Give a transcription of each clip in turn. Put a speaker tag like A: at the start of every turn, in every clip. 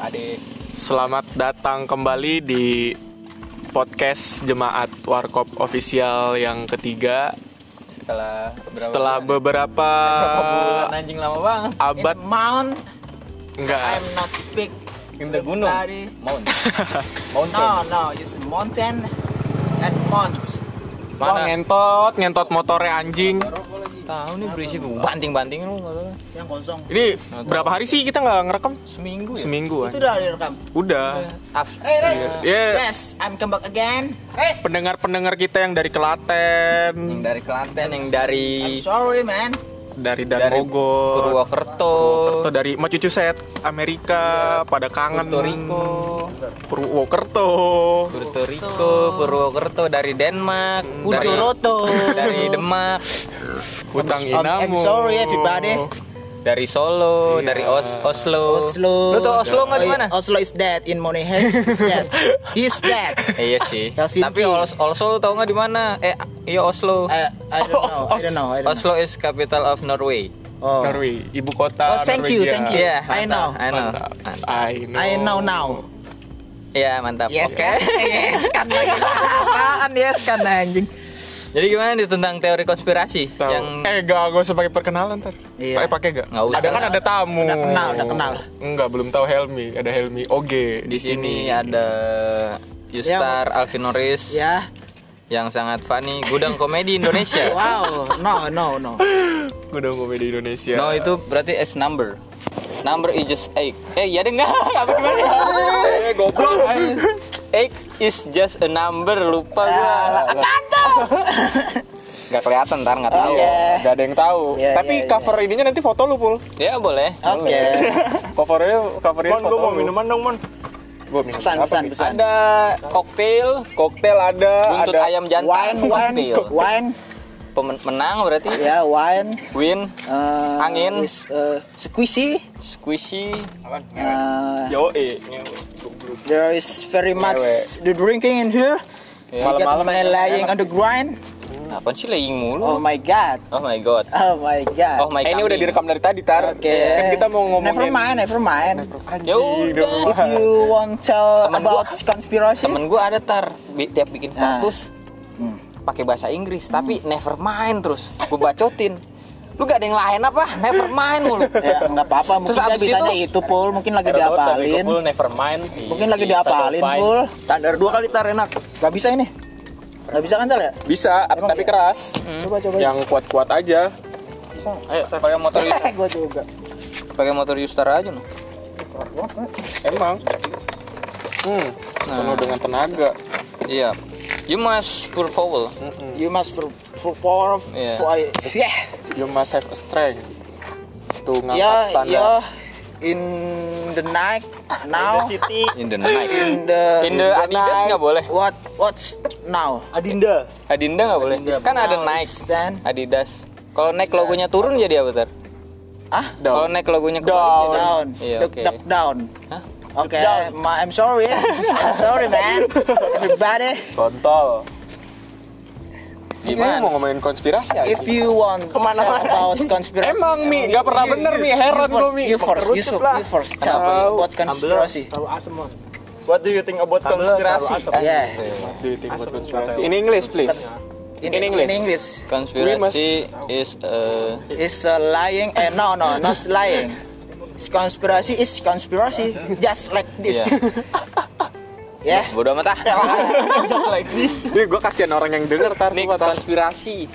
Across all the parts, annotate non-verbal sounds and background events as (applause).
A: Ade.
B: Selamat datang kembali di podcast Jemaat Warkop Official yang ketiga
A: Setelah berapa
B: setelah
A: bulan?
B: beberapa
A: Berapa bulan anjing lama banget.
B: abad
C: In Mount,
B: enggak
C: I'm not speak.
A: In the gunung.
C: Dari-
A: Mount. Mountain.
C: No, no, it's mountain and mount.
B: Wah, ngentot ngentot motornya anjing
A: Tahu nih berisi gue banting-banting lu nggak tahu.
C: Yang kosong.
B: ini berapa hari sih kita nggak ngerekam
A: Seminggu ya.
B: seminggu
C: Itu
B: kan?
C: udah direkam.
B: udah
A: Af- Iya.
B: ya
C: Yes, I'm come back again.
B: pendengar pendengar kita yang dari Kelaten
A: Yang dari Klaten, yang dari
C: I'm sorry, man.
B: dari
A: Hmm. dari
B: Dan Bogor
A: Purwokerto,
B: atau dari Massachusetts Amerika pada kangen
A: Iya. Puerto Rico,
B: Purwokerto
A: Puerto Rico, Purwokerto dari Denmark, dari
C: Puturoto.
A: dari Demak,
B: Utang
C: I'm-
B: Inamu.
C: I'm sorry, everybody.
A: dari Solo, dari Os- Oslo.
C: Oslo. Oh, iya.
A: Lu tau Oslo nggak di mana?
C: Oslo is dead in Money He's dead. He's dead.
A: Eh, iya sih.
C: Helsinki.
A: Tapi Os- Oslo lu tau nggak di mana? Eh, iya Oslo.
C: I, Uh, I don't know. I don't know. I don't know.
A: Oslo is capital of Norway.
C: Oh.
B: Norway, ibu kota
C: Oh, thank you,
B: Norwegia.
C: thank you.
A: Iya,
C: I know.
A: mantap, I know.
B: I know.
C: I know nah. now.
A: Iya, mantap.
C: Yes
A: Oke.
C: kan? Yes kan lagi. Apaan yes kan anjing?
A: Jadi gimana nih tentang teori konspirasi
B: Tahu.
A: yang
B: Eh gak, gak usah pakai perkenalan ntar
C: Iya.
B: Pakai pakai gak?
A: Nggak usah.
B: Ada kan ada tamu
C: Udah kenal, udah kenal.
B: Enggak, belum tahu Helmi Ada Helmi Oge
A: di sini ada Yustar Alvinoris
C: Ya.
A: yang sangat funny gudang komedi
C: (laughs)
A: Indonesia.
C: Wow. No, no, no.
B: Gue udah komedi Indonesia
C: iya.
A: No itu berarti S number. Number is just eight. Eh ya dengar (laughs) apa gimana ya?
B: Eh
C: (laughs)
B: goblok eh.
C: Iya,
A: Eight is just a number lupa gua.
C: Ah,
A: Gak kelihatan ntar (laughs) nggak tahu.
C: Oke.
B: Gak ada yang tahu
C: Iya,
B: Tapi
C: iya,
B: cover ininya nanti foto lu pul
A: Ya boleh.
C: Oke.
B: Covernya, covernya foto lu
D: dong mon
B: Gue minum
C: Pesan,
B: apa
C: pesan,
B: nih?
C: pesan.
A: Ada koktail,
B: Koktel ada
A: buntut
B: ada
A: ayam jantan,
C: Wine, wine,
A: koktail.
C: wine.
A: Pemen- menang berarti.
C: Ya, wine.
A: Win,
C: eh,
A: Angin.
C: is, eh, squishy.
A: squishy,
C: Eh,
B: Yo, eh.
C: there is very much the drinking in here. You get
B: Malam-malam
C: my lying on the ground.
A: apa sih laying mulu?
C: Oh my god.
A: Oh my god.
C: Oh my
A: Oh
C: god.
A: my
B: Eh, ini
A: kambing.
B: udah direkam dari tadi, Tar.
C: Oke.
B: Kan kita mau ngomongin.
C: Never mind, never mind.
A: Ya udah.
C: If you want tell
A: Temen
C: about conspiracy,
A: Temen gue ada tar, bi- tiap bikin
C: Nah.
A: status
C: Hmm.
A: pakai bahasa Inggris, tapi never mind terus gue bacotin. Lu gak ada yang lain apa? Never mind
C: (laughs)
A: mulu.
C: ya nggak apa-apa. Mungkin
A: Terus
C: dia
A: abis
C: bisanya
A: itu-
C: itu, Pul. Mungkin lagi diapalin.
D: never mind
C: Mungkin lagi diapalin, Pul.
D: standar dua kali tar enak
C: Gak bisa ini. Gak bisa kan, Sal ya?
B: Bisa, ap-
C: Emang
B: tapi
C: iya?
B: keras.
C: Coba, coba.
B: Yang kuat-kuat aja.
C: (laughs)
D: ayo tar
A: Pakai motor Yus-
C: gue juga.
A: pakai motor Yustar aja noh.
B: Emang. Hmm. Penuh dengan tenaga.
A: Iya. You must pull forward.
C: You must for for power of
A: Iya.
C: yeah.
B: You must have a strength. Tuh ngangkat
C: Yeah,
B: standar.
C: yeah. Ya, In the night now.
D: Siti
A: In the night.
C: In the
A: In the Adidas nggak boleh.
C: what what's now?
D: Adinda
A: Adinda nggak boleh. Kan ada
C: Now
A: Nike,
C: is then-
A: Adidas. Kalau Nike logonya turun jadi apa tar?
C: Ah,
B: Iya. Down.
A: Kalau Nike logonya kebalik
B: Down.
A: jadi-
C: down.
A: Iya
C: Duck,
A: oke.
C: duck down.
A: Hah?
C: Oke, ma- I'm sorry. I'm sorry, man. Everybody,
B: Kontol. Ini
A: Gimana?
B: mau ngomongin konspirasi aja.
C: if you want to tell about conspiracy,
B: Emang Mi, nggak pernah bener Mi,
C: you
B: heran
C: first,
B: gua Mi.
C: you first, you,
B: Kerucut
C: su-
B: lah.
C: you first tell me about conspiracy.
B: What do you think about konspirasi?
C: Yeah,
B: What do you think about konspirasi? In English, please.
C: in,
B: In English.
C: in English.
A: Konspirasi is eh, a
C: It's a lying. Eh, no, no, not lying. It's conspiracy is conspiracy. Just like this.
A: Iya.
C: (laughs) Yeah.
A: bodoh
B: (laughs)
A: amat ah.
B: like this. Ini gue kasihan orang yang denger tar
A: Ini
B: semua tar.
A: konspirasi.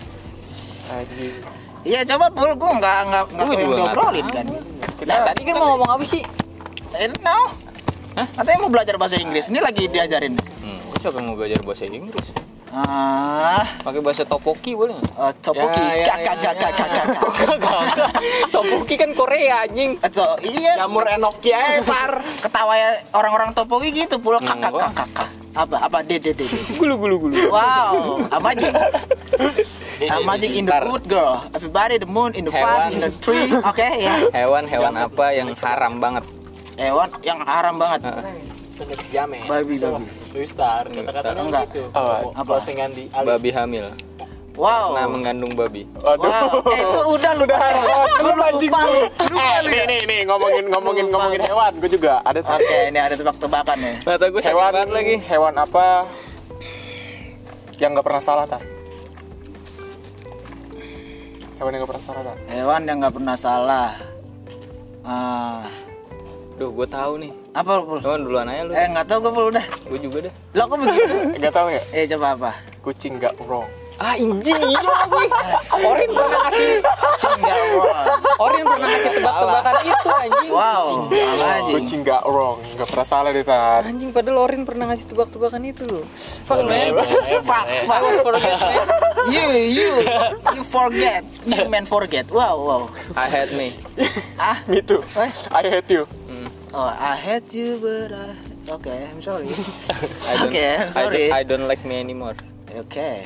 B: Anjing.
C: Iya, coba pul gue nggak nggak nggak
A: Gua
C: yang
A: juga nggak
C: diobrolin kan.
A: Nah, tadi kan mau ngomong apa sih?
C: Eh, no. Katanya mau belajar bahasa Inggris. Ini lagi diajarin.
A: Hmm, gue juga mau belajar bahasa Inggris.
C: Ah,
A: Pakai bahasa topoki boleh nggak?
C: uh, topoki.
A: Ya, ya,
C: Kak,
A: ya,
C: kak, kak, kak, kak,
A: (laughs)
C: kak.
A: Kagak. topoki kan Korea anjing. eh,
C: Atau iya.
B: Jamur enoki aja, Tar.
C: Ketawa ya orang-orang topoki gitu pul.
A: Hmm,
C: Kak, kak, kak, kak, kak. Apa apa de de de. de.
B: Gulu gulu gulu.
C: Wow, amazing. amazing in the
A: Ntar.
C: good girl. Everybody the moon in the
A: Hewan.
C: fast in the (laughs) tree. Oke, ya.
A: Hewan-hewan apa yang haram banget?
C: Hewan yang haram banget.
D: penyet sejame
C: Babi, babi.
D: Louis Star
A: Star.
D: kata-kata lu
C: Enggak.
D: gitu
B: Apa?
C: Apa?
D: closingan di alis
A: Babi hamil.
B: Oh.
C: Wow.
A: Nah, mengandung babi.
B: Aduh. (laughs)
C: (laughs) Wow. Eh, itu udah lu udah. Lu anjing
B: Eh, nih nih nih ngomongin ngomongin ngomongin hewan, gue juga ada tuh.
C: Oke, ini ada tebak-tebakan nih.
A: Mata gue sakit
B: hewan
A: banget lagi.
B: Hewan apa yang nggak pernah salah tar? Hewan yang nggak pernah salah tar.
C: Hewan yang nggak pernah salah. Ah,
A: Duh, gue tahu nih.
C: apa lu? Pul?
A: Cuman duluan aja lu.
C: Eh, nggak tahu gue pul udah.
A: Gue juga dah.
C: Lo kok begitu?
B: Gak tau nggak?
C: eh, coba apa?
B: Kucing nggak wrong.
A: Ah, injing iya gue. Orin pernah ngasih
C: Single world.
A: Orin pernah ngasih tebak-tebakan itu anjing.
C: Wow, apa aja?
B: Kucing nggak wrong, nggak pernah salah deh tar.
A: Anjing padahal Orin pernah ngasih tebak-tebakan itu loh. Fuck man.
C: Fuck,
A: I was forget man.
C: You, you, you forget. You man forget. Wow, wow.
A: I had me.
C: Ah,
B: Me too. I hate you.
C: oh, I hate you, but I... Oke, I'm sorry.
A: (laughs) I don't,
C: Oke,
A: I,
C: sorry.
A: don't, I don't like me anymore.
C: Oke,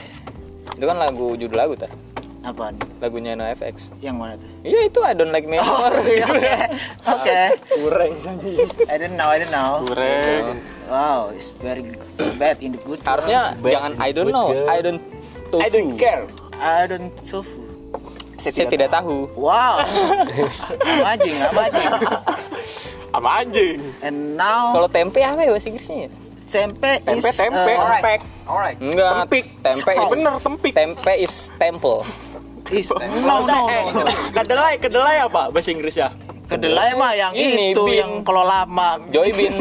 A: Itu kan lagu judul lagu tah.
C: apaan?
A: Lagunya NoFX.
C: Yang mana
A: (laughs)
C: tuh?
A: Iya itu I don't like me anymore.
C: (laughs)
A: iya.
C: Oke, oke.
B: Kurang janji.
C: I don't know, I don't know.
B: Kurang.
C: Wow, it's very bad in the good.
A: Harusnya
D: Bad
A: jangan I don't know.
D: girl.
A: I don't tofu.
B: I don't care.
C: I don't tofu.
A: Saya tidak tahu. (laughs)
C: Wow, amazing, amazing.
B: Sama anjing.
C: And now
A: Kalau tempe apa ya bahasa Inggrisnya? ya?
C: tempe,
B: Tempe
C: is
B: tempe.
C: uh,
B: Tempek.
D: Alright.
A: Enggak.
B: Tempik.
A: Tempe is
B: Bener tempik.
A: Tempe is temple.
C: is-
A: (laughs)
C: no, no, no, no.
D: Kedelai, kedelai apa bahasa ya? Inggrisnya?
C: Kedelai mah yang
A: Ini,
C: itu
A: Bin.
C: yang kalau lama
A: Joy bean.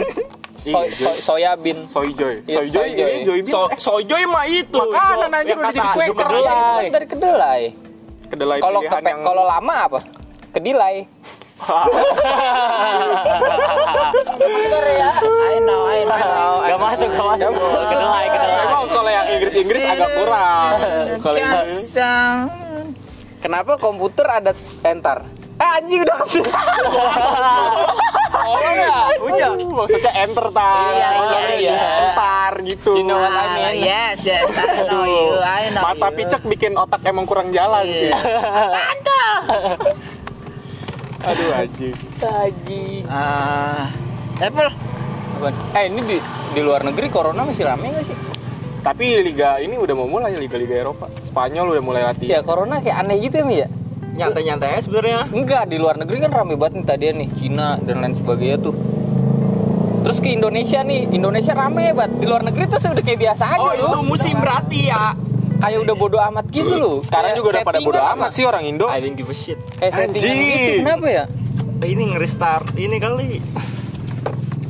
A: Soy,
B: Iya,
A: soy, soya bean.
B: Soy joy.
A: Iya,
B: Soy joy.
A: soy joy.
B: Ini joy bean.
D: So, sojoy mah itu.
B: Makanan anjir
D: Yang
B: udah jadi
D: kata
B: cueker.
D: Zuckerberg.
A: Kedelai. Itu kan dari kedelai.
B: Kedelai
A: Kalau
B: pilihan
A: kepe-
B: yang (laughs)
A: kalau lama apa? Kedilai.
C: I know, I know.
D: Gak masuk, gak masuk. Kedelai, kedelai.
B: Emang kalau yang Inggris-Inggris agak kurang.
C: Eh,
B: Kalau yang
A: Kenapa komputer ada entar? Ah, anjing udah
B: Udah. Maksudnya enter tar.
C: Iya, iya, iya.
B: Entar gitu.
A: You know what I
C: Ah,
A: mean?
C: yes, yes, I know you, I know
B: Mata
C: you.
B: picek bikin otak emang kurang jalan sih.
C: Iya. Apaan tuh?
B: Aduh anjing.
C: Ah, Apple.
A: Apaan? Eh, ini di di luar negeri corona masih rame gak sih?
B: Tapi liga ini udah mau mulai liga-liga Eropa. Spanyol udah mulai
A: Ya,
B: latihan.
A: corona kayak aneh gitu ya, Mi ya?
D: Nyantai-nyantai aja sebenarnya.
A: Enggak, di luar negeri kan rame banget nih tadian nih, Cina dan lain sebagainya tuh. Terus ke Indonesia nih, Indonesia rame banget. Di luar negeri tuh udah kayak biasa aja
D: Oh,
A: loh.
D: itu musim berarti ya.
A: Kayak udah bodo amat gitu loh.
B: Sekarang
A: Kayak
B: juga udah pada bodo
A: settingan
B: amat sih orang Indo.
D: I don't give a shit.
A: Kayak settingan
B: Anjing.
A: gitu, kenapa ya?
D: Ini ngerestart ini kali.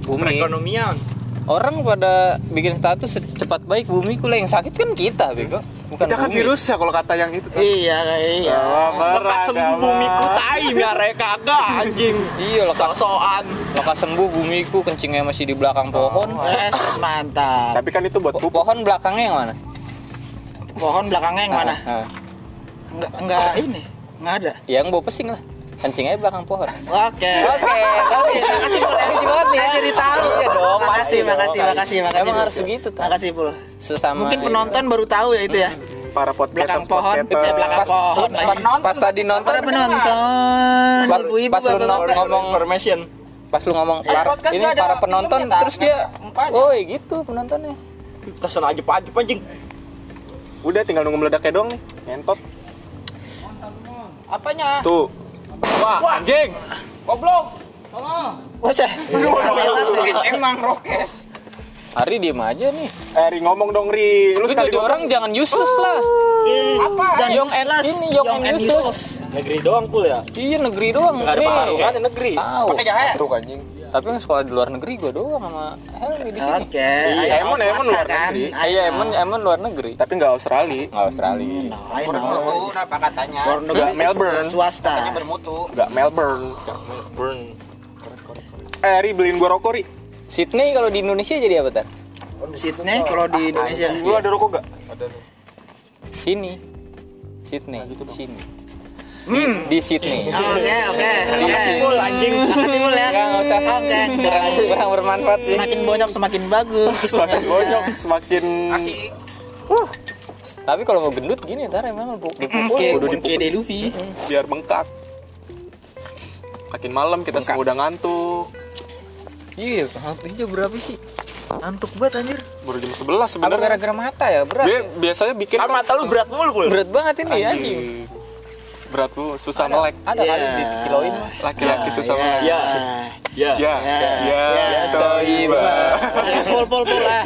B: Bumi.
D: Perekonomian.
A: Orang pada bikin status secepat baik bumi kula yang sakit kan kita, bego. Bukan
B: Kita kan
A: bumi.
B: virus ya kalau kata yang itu.
C: Iya, iya.
B: Oh,
D: Lekas sembuh bumi kutai ya kagak anjing.
A: Iya, lekas
D: Sosokan.
A: Maka sembuh bumiku kencingnya masih di belakang pohon.
B: Oh.
C: Yes, mantap.
B: Tapi kan itu buat
A: Po-
B: pupuk.
A: pohon belakangnya yang mana?
C: Pohon belakangnya yang mana?
A: Ah, ah.
C: Enggak, enggak ini. Enggak ada.
A: Yang bau pesing lah. Kencingnya di belakang pohon.
C: (laughs) Oke.
A: Oke, tapi makasih makasih banget nih.
C: Saya jadi tahu. ya
A: Iya dong. iya
C: Makasih,
A: dong,
C: makasih, makasih, makasih.
A: Emang
C: Pul.
A: harus begitu, Tan.
C: Makasih, Pul.
A: Sesama
C: Mungkin penonton baru tahu ya itu ya.
B: Para
C: Belakang
B: podcasters,
C: pohon, eh,
B: podcasters.
C: belakang
A: pas,
C: pohon.
A: pas, pas tadi nonton
C: Para penonton,
A: Pas-
C: ibu-ibu,
A: pas lu
C: bapak-bapak.
A: Ngomong-
D: information.
A: pas lu ngomong
C: Eh,
A: para,
C: podcast
A: ini
C: nggak ada
A: para penonton
C: filmnya, Tan.
A: terus dia
C: Nggak ada
A: woi gitu penontonnya
D: Kita sana aja aja anjing.
B: Udah tinggal nunggu meledaknya doang nih. Ngentot.
D: Apanya?
B: Tuh. Wah, anjing.
D: Goblok.
C: Wah, saya. Emang rokes.
A: Ari diem aja nih
B: Eh, Ri, ngomong dong, Ri.
A: lu
B: Lu sekali
A: jadi orang jangan useless lah
C: Oh, Apa?
A: Young and- ini, young and useless.
D: Negeri doang kul ya.
A: iya negeri doang
D: Gak ada pengaruh
A: nih
D: kan di negeri.
A: tahu
C: Jahaya.
B: Tuh, anjing.
A: tapi yang sekolah di luar negeri gua doang sama Helmi di sini
C: Oke.
B: Iya,
C: ayo,
B: Emon,
C: swasta
B: Emon luar
C: kan?
B: negeri.
C: Ayo,
A: iya emang emang luar negeri
B: Tapi nggak Australia.
A: nggak Australia
C: I know.
D: Kenapa katanya?
C: Luar negeri
B: Melbourne.
C: Swasta.
D: bermutu.
B: Nggak Melbourne.
D: Burn.
B: Eh, Ri, beliin gua rokok, Ri.
A: Sydney kalau di Indonesia jadi apa tar
C: Sydney kalau di Indonesia.
B: Lu ada rokok nggak?
A: sini Sydney
D: Nah, gitu
A: sini Di- di Sydney
C: Oke, oke.
A: Iya.
C: Makasih
A: Pul,
C: anjing. Makasih Pul ya.
A: Enggak, enggak usah.
C: Oke.
A: kurang, kurang bermanfaat sih.
C: Semakin bonyok semakin bagus.
B: Semakin bonyok, semakin...
A: Tapi kalau mau gendut gini ntar emang lu
B: Hmm,
A: dipukul.
C: Oke,
A: Udah
C: oke deh Luffy.
B: Biar bengkak. Makin malam kita semua udah ngantuk.
A: Iya, hantunya berapa sih? Ngantuk banget anjir.
B: Baru jam 11
A: Apa
B: sebenarnya.
A: gara-gara mata ya? Berat.
B: Dia
A: ya?
B: biasanya bikin... kan-
D: Kan mata lu berat mulu kul.
A: Berat banget ini ya.
B: Anjing. berat mulu, susah melek.
A: Ada kali
E: Iya.
A: dikiloin mah.
C: Ah,
B: Laki-laki susah
E: ya.
C: iya.
B: melek.
E: Ya.
B: Ya, ya, ya,
A: iya,
B: toiba.
C: Ya, full full full ah.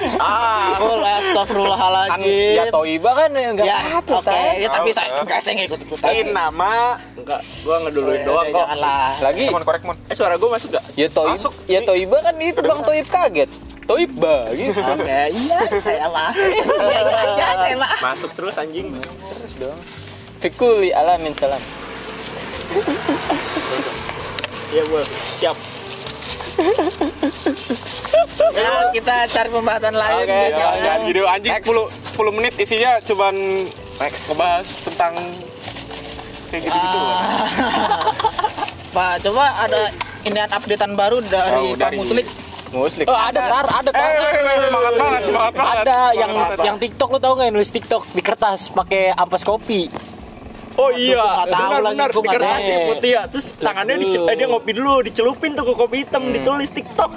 C: Full
A: Kan ya
C: astagfirullahaladzim.
A: Toiba kan ya nggak
B: Iya.
C: Ya,
A: apa-apa.
C: oke.
A: Tay.
C: Ya, tapi saya enggak saya ngikut ikutan.
D: Ini nama enggak gua
C: Oh,
D: ngeduluin
C: iya,
D: doang kok.
C: Janganlah.
A: Lagi
F: Mon korek mon.
D: Eh suara gua masuk gak?
A: ya Toib
D: Masuk.
A: ya Toiba kan itu Bang Toib kaget. Toiba gitu.
C: Oke, iya saya mah. Iya iya aja saya mah.
D: Masuk terus anjing.
A: (laughs) Fikuli alamin salam.
D: Iya gua siap.
C: Ya, kita cari pembahasan lain.
A: Oke,
C: ya,
B: Ya,
C: jangan.
B: jangan gitu anjing 10 10 menit isinya cuman ngebahas tentang kayak gitu-gitu. lah.
C: Pak, coba ada inian updatean baru
B: Oh,
C: dari Pak
B: dari-
C: Muslik.
A: Oh, ada tar, ada tar.
B: Semangat banget, semangat banget.
A: Ada yang yang TikTok lu tau nggak yang nulis TikTok di kertas pakai ampas kopi.
D: Oh iya,
C: nggak tahu
D: benar
C: lagi,
D: benar
C: gua
D: di
C: nggak
D: kertas
A: tahu.
D: yang putih ya. Terus tangannya di, eh, dia ngopi dulu, dicelupin tuh ke kopi hitam, ditulis TikTok.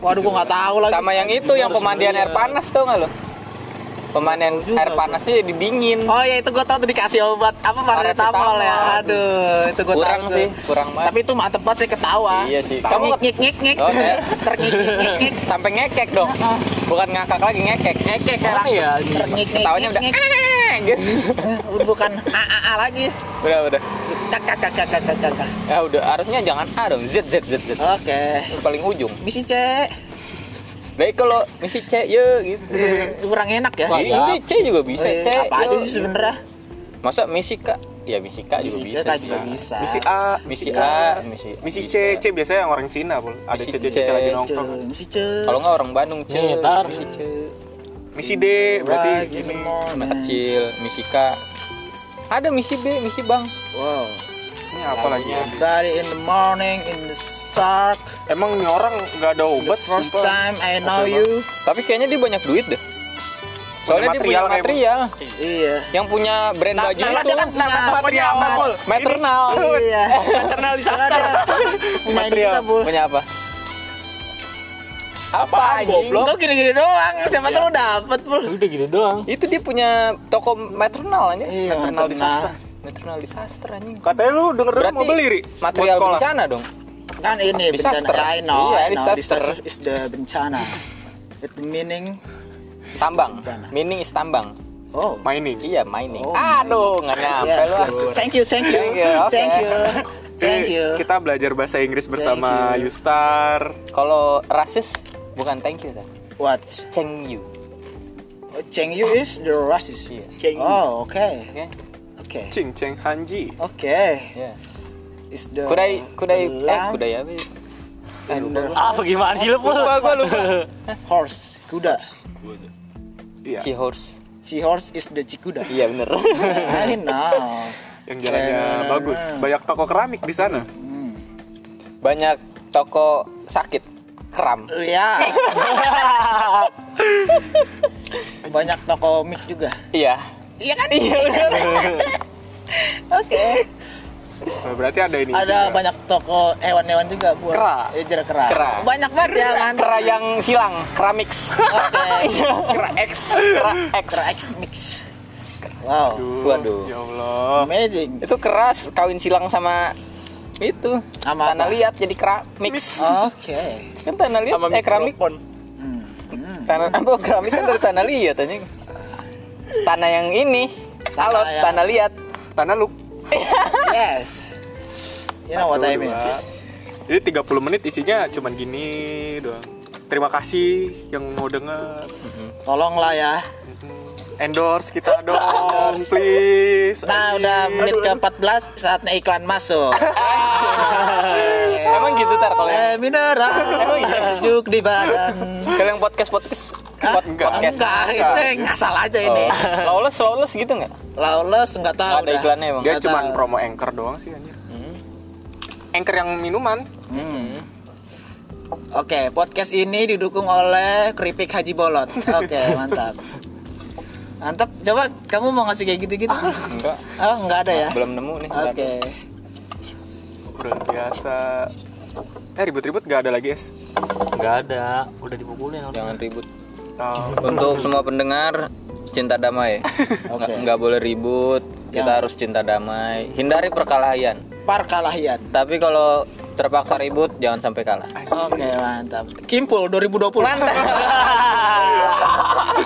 C: Waduh, gua nggak tahu lagi.
A: Sama yang itu yang pemandian air panas tau nggak lu? Pemandian air panasnya didingin.
C: Oh ya itu gua tahu tuh dikasih obat apa paracetamol ya. Aduh, itu gua tahu
A: Kurang
C: tuh.
A: sih, kurang banget.
C: Tapi itu mantep banget saya ketawa.
A: Iya sih.
C: Kamu
A: Kamu-
C: ngik ngik ngik.
A: Oh,
C: (laughs)
A: saya-
C: Terngik ngik ngik.
A: (laughs) sampai ngekek dong bukan ngakak lagi ngekek ngekek kan ya
C: Terngik ngik.
A: ketawanya udah "Ah," (laughs) gitu
C: Eh, bukan a a a lagi.
A: udah udah
C: Kak kak kak kak kak kak, kak.
A: ya udah harusnya jangan A dong Z Z Z Z
C: Oke.
A: paling ujung
C: Misi C.
A: baik kalau misi C ya gitu
C: Kurang enak ya.
A: Ya, ini C juga bisa
C: Eh,
A: C
C: apa
A: ya.
C: aja sih sebenarnya?
A: masa misi K ya misi K juga
C: Misi K
A: bisa
C: kan
A: sih.
C: juga bisa.
B: Misi A,
A: misi A misi
B: misi
A: bisa.
B: C, C biasanya yang orang Cina, Bol. Ada
A: Misi
B: C, C, C, C lagi
A: C.
C: C,
B: nongkrong.
C: misi C.
A: kalau nggak orang Bandung C
D: Iya, tar.
A: misi C
B: Misi D berarti
C: Lagi
B: gini.
C: lemon.
A: anak kecil misi K ada misi B misi Bang
C: Wow.
B: Ini apa lagi? ya?
C: Body in the morning in the dark.
B: Emang nih orang nggak ada obat
C: First
B: apa?
C: time I know
B: Oke,
C: you.
A: tapi kayaknya dia banyak duit deh soalnya dia punya
B: material kayak-
A: material
C: Iya.
A: yang punya brand baju
C: nah,
A: itu
C: jangan- nah,
A: punya apa Pul? maternal
C: Iya.
D: Internal
C: Karena
D: (laughs) disaster.
C: dia punya ini kita bul.
A: punya apa apa
D: Apaan,
A: anjing
D: goblok?
C: Kok gini-gini doang? Siapa tahu dapet bul.
D: Udah gitu doang.
A: itu dia punya toko maternal aja
C: Iya, maternal.
A: maternal disaster maternal disaster anjing
B: Katanya lu denger denger
A: berarti
B: mau beli Ri? Buat
A: material
B: sekolah.
A: bencana dong
C: Kan ini
A: Disaster.
C: bencana. I know.
A: Iya,
C: I know.
A: disaster.
C: Disaster is the bencana. It meaning.
A: tambang
C: Bencana.
A: mining is tambang
C: Oh.
B: Mining.
A: iya mining
C: Oh,
A: aduh nggak nyampe lu ah.
C: Yes, yes. Thank you, thank you,
A: Thank you, oke.
C: thank you,
A: (laughs)
C: thank
B: Jadi,
C: you.
B: Kita belajar bahasa Inggris bersama
C: you.
B: Yustar.
A: kalau rasis bukan thank you kan
C: What?
A: thank you
C: Cheng Yu is the racist.
A: Iya.
D: Ceng.
C: Oh, okay,
A: oke
C: okay,
B: Ching Cheng Hanji.
C: okay.
A: ya
C: Is the
A: kudai kudai
C: the
A: eh
C: lamb
A: kudai apa sih? Eh,
C: and
A: lupa
C: the
A: gua.
D: Apa gimana sih lu?
A: lupa gua lupa (laughs)
C: horse kuda.
B: Iya.
A: Seahorse
C: Si horse is the
A: (laughs)
C: cikuda.
A: iya bener
C: I know.
B: Yang jalannya
C: Nah,
B: bagus. Banyak toko keramik di sana.
A: banyak toko sakit kram (laughs)
C: Iya. Banyak toko mic juga.
A: (laughs) iya
C: Iya kan? Iya. Oke.
B: Nah, Berarti ada ini.
C: Ada
B: juga.
C: banyak toko hewan-hewan juga buat
A: Kera.
C: Eh, jera kera.
A: Kera.
C: Banyak banget ya, mantap.
A: kera yang silang keramix (laughs) Iya.
C: Oke.
A: kera X kera X
C: Kera X mix. Wow.
B: Aduh,
A: Waduh.
B: Ya Allah.
C: Amazing.
A: itu keras kawin silang sama itu
C: Sama
A: tanah
C: apa? Oh.
A: liat jadi keramix
C: Oke.
A: kan tanah liat
D: Sama
A: eh keramik
D: mikrofon.
A: tanah apa keramik kan dari tanah liat anjing tanah yang ini
C: Tanah
A: alot
C: yang-
A: tanah liat
B: Tanah lu.
C: Yes. You know what I mean.
B: Dua. Jadi 30 menit isinya cuman gini doang. Terima kasih yang mau denger.
C: Tolonglah ya.
B: Endorse kita dong, please.
C: Nah, udah menit ke-14 saatnya iklan masuk.
A: emang gitu tar kalau yang
C: Eh, mineral. Juk di badan.
A: kalau yang podcast podcast
C: Hah?
A: pod- podcast
C: Enggak, itu ngasal aja ini.
A: Oh. lawless lawless gitu nggak
C: Lawless enggak tahu.
A: Nggak ada
C: dah.
A: iklannya emang
B: Dia
C: Nggak
B: cuman
C: tahu. Hmm.
B: promo anchor doang sih anjir. Anchor yang minuman.
C: Oke, podcast ini didukung oleh Keripik Haji Bolot. Oke,
A: (laughs)
C: mantap. Mantap. Coba kamu mau ngasih kayak gitu-gitu?
A: Ah. enggak
C: Oh, enggak ada ya.
A: belum nemu nih
C: Oke.
B: Udah biasa. Eh ribut-ribut gak ada lagi es.
D: Enggak ada, udah dipukulin orang.
A: jangan ribut
B: Tahu.
C: (laughs)
A: Untuk semua pendengar cinta damai, nggak nggak boleh ribut, Kita
C: Ya.
A: harus cinta damai, hindari perkelahian.
C: Parkalahian.
A: Tapi kalau terpaksa ribut jangan sampai kalah.
C: Oke, mantap. Kimpul 2020. Mantap. (laughs)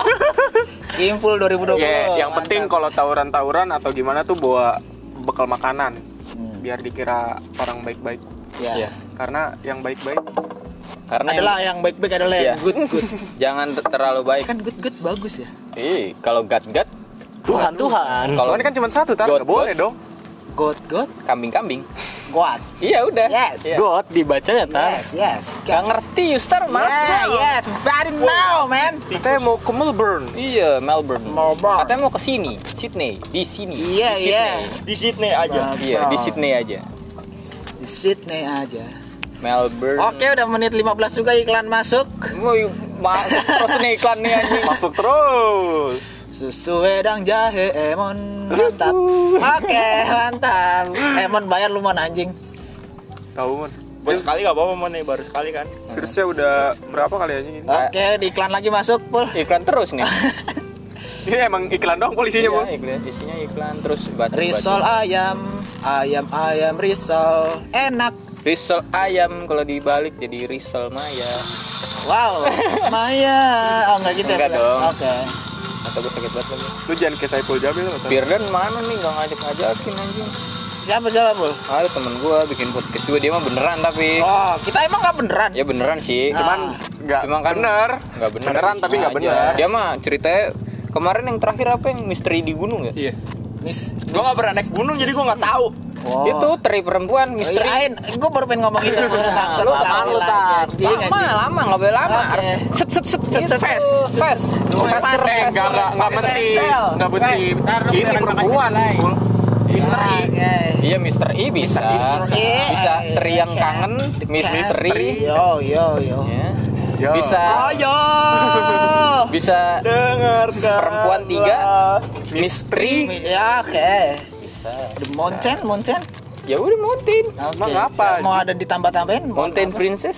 C: Kimpul
B: Ya, yang
C: 2020. Iya. mantap.
B: penting kalau tawuran-tawuran atau gimana tuh bawa bekal makanan
C: Hmm.
B: biar dikira orang baik-baik.
C: Ya.
A: Iya.
B: Karena yang baik-baik
A: Karena yang-
C: Adalah yang baik-baik adalah
A: Iya.
C: yang good good.
A: jangan ter- terlalu baik.
C: Kan good good bagus ya.
A: Ih, kalau gat-gat
D: Tuhan Tuhan
A: kalau
B: Soalnya kan cuma satu, tar
A: God,
B: nggak boleh dong.
C: God good
A: kambing-kambing.
C: kuat.
A: Iya udah.
C: Yes.
A: Iya.
D: God dibacanya tar
C: Yes, yes.
A: Gak ngerti
C: Ya,
A: Yustar mas
C: Yeah, yeah, everybody Iya, now, man.
B: Kita mau ke Melbourne.
A: Iya Melbourne.
C: Melbourne.
A: Katanya mau ke sini, Sydney, di sini.
C: Iya,
A: di
C: iya.
A: Sydney.
D: di Sydney
C: Nah.
D: aja.
A: Iya di Sydney aja.
C: Di Sydney aja.
A: Melbourne.
C: Oke, udah menit 15 juga iklan masuk.
A: Mau masuk terus nih iklan nih anjing.
B: Masuk terus.
C: Susu wedang jahe Emon mantap.
A: Uhuh.
C: Oke, mantap. Emon bayar lu mon anjing.
B: Tahu mon.
C: Hmm.
D: Buat sekali gak apa-apa mana baru sekali kan.
B: Virusnya udah berapa kali aja ini? (laughs)
C: Oke, di iklan lagi masuk, Pul.
A: Iklan terus nih.
B: Ini
C: Iya,
B: emang iklan dong polisinya,
A: Iya,
B: Bu.
A: iklan, isinya iklan terus batu.
C: Risol ayam, ayam ayam risol, enak.
A: Risol ayam kalau dibalik jadi risol maya.
C: Wow, Maya. Oh, enggak gitu
A: Enggak
C: ya? Pul?
A: dong.
C: Oke.
A: Atau gue sakit banget lagi.
B: Lu jangan kayak Saiful Jamil lo.
C: Iya.
A: Firdan mana nih gak ngajak-ngajakin anjing.
C: Siapa siapa, Pul?
A: Ada temen gue bikin podcast juga dia mah beneran tapi.
C: Oh, kita emang nggak beneran. Ah,
A: Ya beneran
C: Nah,
A: sih.
B: Cuman nggak
A: Cuma kan
B: bener.
A: Nggak bener.
B: Beneran tapi nggak
A: Sengaja.
B: bener.
A: Dia mah ceritanya kemarin yang terakhir apa yang misteri di gunung ya?
B: Iya.
C: Mis,
D: Gua gak pernah naik gunung jadi gua gak tahu.
C: Wow. Oh,
A: Itu teri perempuan
C: Misteri.
A: misteri.
C: gue baru pengen ngomong itu. Bangsa,
A: (laughs) Lu lama
C: Iya,
A: lu tar. Lama
C: Lama.
A: lama nggak boleh lama.
C: Oke.
A: Harus set set set set
C: Set, set,
A: fast fast.
C: set. Fast,
A: Faster,
B: Eh, nggak
A: faster,
B: nggak nggak
A: faster.
B: mesti nggak mesti ini perempuan Bul.
C: Misteri. Oke.
A: Iya Mister I bisa.
C: I.
A: Bisa
C: Iya,
A: teri yang
C: iya.
A: kangen misteri.
C: Yo yo yo. Oh,
A: Ya.
B: Yo.
A: Bisa (laughs)
C: Ayo.
A: bisa perempuan tiga misteri.
C: Ya oke. Mountain, mountain.
A: Ya udah mountain.
C: Oke.
B: Emang apa?
C: Saya Mau ada ditambah-tambahin? Mau
A: Mountain
C: apa?
A: Princess.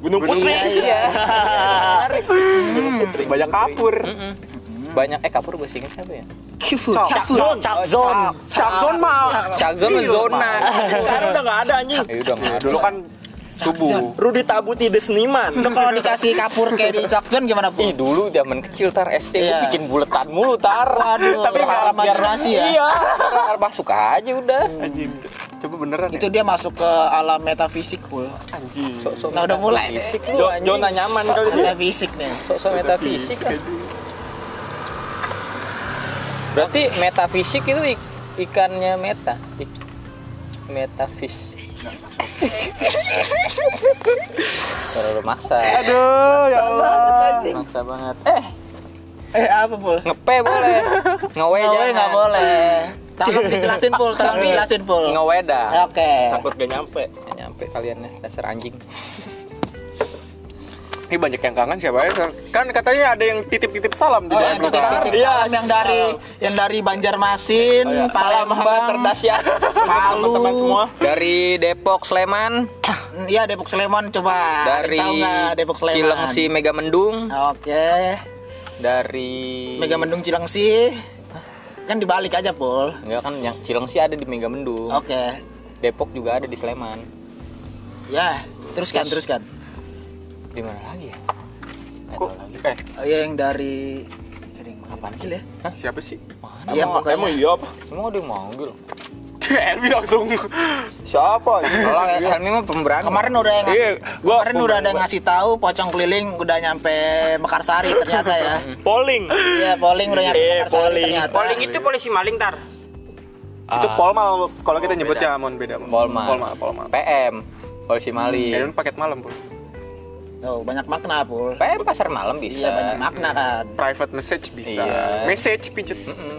B: Gunung Putri.
C: Iya, (laughs) iya.
B: Banyak kapur.
A: Banyak eh kapur bahasa Inggris apa ya?
C: Kifu, kifu.
D: Zone, cap zone.
B: Capson mah.
A: Cakzon zona.
D: Sekarang udah gak ada anjing.
A: Ya udah nggak ada.
B: Dulu kan subuh.
D: Rudy Tabuti the seniman.
C: Lu kalau dikasih kapur kayak di Cakdon gimana
A: Ih
C: pun?
A: dulu zaman kecil tar SD gua
C: Iya.
A: bikin buletan mulu tar.
C: Waduh,
A: nggak-
C: berharap generasi ya?
A: Iya, berharap masuk aja udah.
B: Anjing. Coba beneran ya.
C: Itu dia masuk ke alam metafisik pul.
B: Anjing.
A: Sok-sok
C: Nah, udah mulai deh.
A: metafisik lu
D: Jo-
A: anjing.
D: Zona nyaman kali dia.
C: Metafisik
A: (laughs)
C: nih.
A: Sok-sok metafisik. lah. Berarti metafisik itu ik- ikannya meta. Ik- metafis. Terlalu maksa.
B: Aduh, ya Allah.
A: Maksa banget. Eh,
C: Eh apa pul?
A: ngepe boleh. Ngewe
C: Ngewe
A: jangan.
C: nggak boleh. Tolong dijelasin pul, tolong dijelasin pul.
A: Ngewe dah.
C: Oke.
D: Takut gak nyampe.
A: Nggak nyampe kalian ya, dasar anjing.
B: Ini banyak yang kangen siapa ya? Sar? Kan katanya ada yang titip-titip salam di
C: Oh, yang
B: Bandung.
C: titip-titip
D: Iya,
C: salam yang dari yang dari Banjarmasin,
D: Oh, Salam
C: Palembang,
D: cerdas ya.
C: Palu.
D: Teman-teman semua.
A: Dari Depok Sleman,
C: Iya Depok Sleman coba.
A: dari
C: Tahu nggak Depok Sleman?
A: Cilengsi Megamendung,
C: Oke.
A: dari
C: Megamendung Cilengsi. Kan dibalik aja pul.
A: Enggak kan yang Cilengsi ada di Megamendung.
C: Oke.
A: Depok juga ada di Sleman.
C: Ya, teruskan teruskan.
A: Di mana lagi ya?
B: Kok- Eh,
C: Oh, iya, yang dari Apaan sih ya?
B: siapa sih?
D: Emang,
C: Iya, pokoknya.
D: emang iya
B: (laughs)
D: apa?
A: Emang ada yang gitu. manggil?
B: Elvi langsung.
D: Siapa?
C: (laughs)
A: Kalau Helmi mah pemberani.
C: Kemarin udah yang ngasih,
B: Iya, gua-
C: kemarin udah ada yang ngasih tahu pocong keliling udah nyampe Mekarsari ternyata
D: (laughs)
C: ya.
D: Polling.
C: Iya, polling udah nyampe
D: Iya,
C: Mekarsari
D: polling.
C: ternyata.
A: itu polisi maling tar.
B: Itu Polma kalau kita nyebutnya mon beda. Mon.
A: Polma.
B: Polma, Polma.
A: PM. Polisi
B: Ya,
A: maling.
B: ini paket malam, Bro.
C: Tuh, Oh, banyak makna, Pul.
A: PM pasar malam bisa.
C: Iya, banyak makna kan.
B: Private message bisa.
A: Iya.
B: Message pijat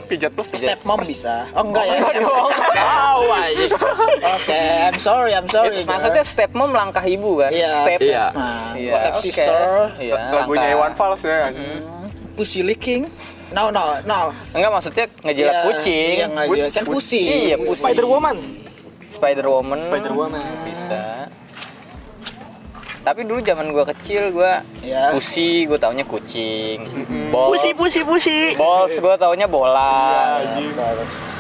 B: pijat plus.
C: Step
A: (laughs)
C: mom bisa. (laughs) Oh enggak ya.
D: Tahu anjing.
C: Oke, I'm sorry, I'm
A: Itu
C: sorry.
A: maksudnya
C: girl.
A: step mom langkah ibu kan?
C: Iya,
A: Step.
D: Iya.
C: Nah,
A: Iya,
C: step
A: oke.
C: sister,
A: Iya,
B: Lagunya
A: langkah-
B: Iwan Fals ya.
C: pussy licking. No, no, no.
A: Enggak maksudnya ngejilat
C: Iya,
A: kucing.
C: Yang aja kan pussy.
A: Iya, pussy.
D: Spider Woman.
A: Spider Woman.
D: Spider Woman.
A: bisa. Tapi tapi dulu zaman gua kecil gua
C: Ya.
E: Iya.
A: pusi gua taunya kucing balls
D: Pusi pusi pusi.
A: balls gua taunya bola kok
B: Iya,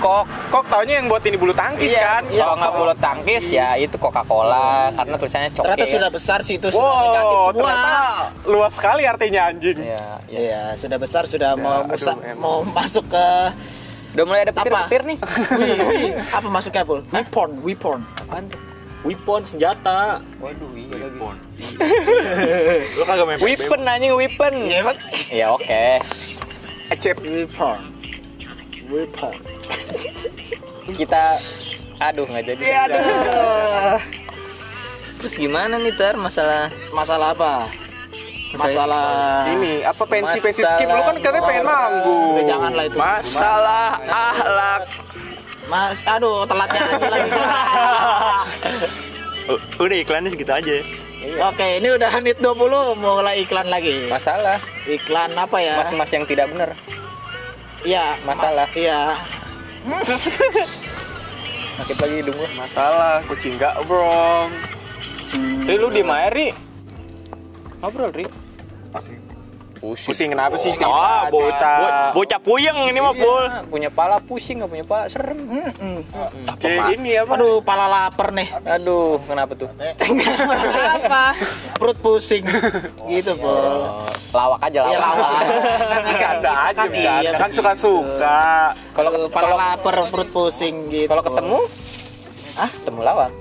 A: Iya,
B: Kok taunya yang buat ini bulu tangkis kan?
A: kalau nggak bola tangkis ya itu coca cola karena tulisannya coke
C: Ternyata sudah besar sih itu sudah negatif
B: Wow,
C: semua.
B: ternyata luas sekali artinya anjing.
A: Iya, iya.
C: Iya, sudah besar sudah mau
B: aduh,
C: musa-
B: emang.
C: mau masuk ke
A: udah mulai ada petir
C: Apa?
A: petir nih
C: Wih, wih. apa masuknya Pul? We porn, we porn.
A: apaan tuh
D: Weapon senjata.
A: (laughs) waduh iya lagi (laughs)
D: Lo kagak main
A: weapon anjing weapon
C: Iya, Pak.
A: ya oke
C: We porn. We porn.
A: kita aduh nggak jadi
C: Iya, aduh.
A: terus gimana nih tar masalah
C: Masalah apa? Masalah
B: Ini apa pensi pensi
A: Masalah
B: skip lu kan katanya pengen
C: moral.
B: manggung.
C: Udah, janganlah itu.
B: Masalah ahlak.
C: Mas, aduh, telatnya aja lagi.
D: Udah iklannya segitu aja.
C: Iya. Oke, ini udah menit 20 mulai iklan lagi.
A: masalah
C: Iklan apa ya?
A: Nah. mas-mas yang tidak benar
C: Iya,
A: masalah.
C: Mas, iya.
A: sakit lagi hidung gua
B: Masalah kucing gak brong.
A: Ri lu di mana Ri ngobrol Ri
B: Pusing kenapa sih?
D: Ah, bocah. Bocah puyeng ini mah, Pul.
A: Iya, punya pala pusing nggak punya pala serem
B: Kayak ini ya, apa?
C: Aduh, pala lapar nih.
A: aduh kenapa tuh
C: apa? Perut pusing. gitu, Pul.
A: Eh, lawak aja
C: Ya
A: Iya, lawak,
C: lawan.
B: Bercanda aja, bercanda.
C: Iya,
B: Kan suka-suka.
A: (laughs) kalau
C: Pala
A: kalau
C: lapar, perut pusing gitu.
A: kalau ketemu ah ketemu lawak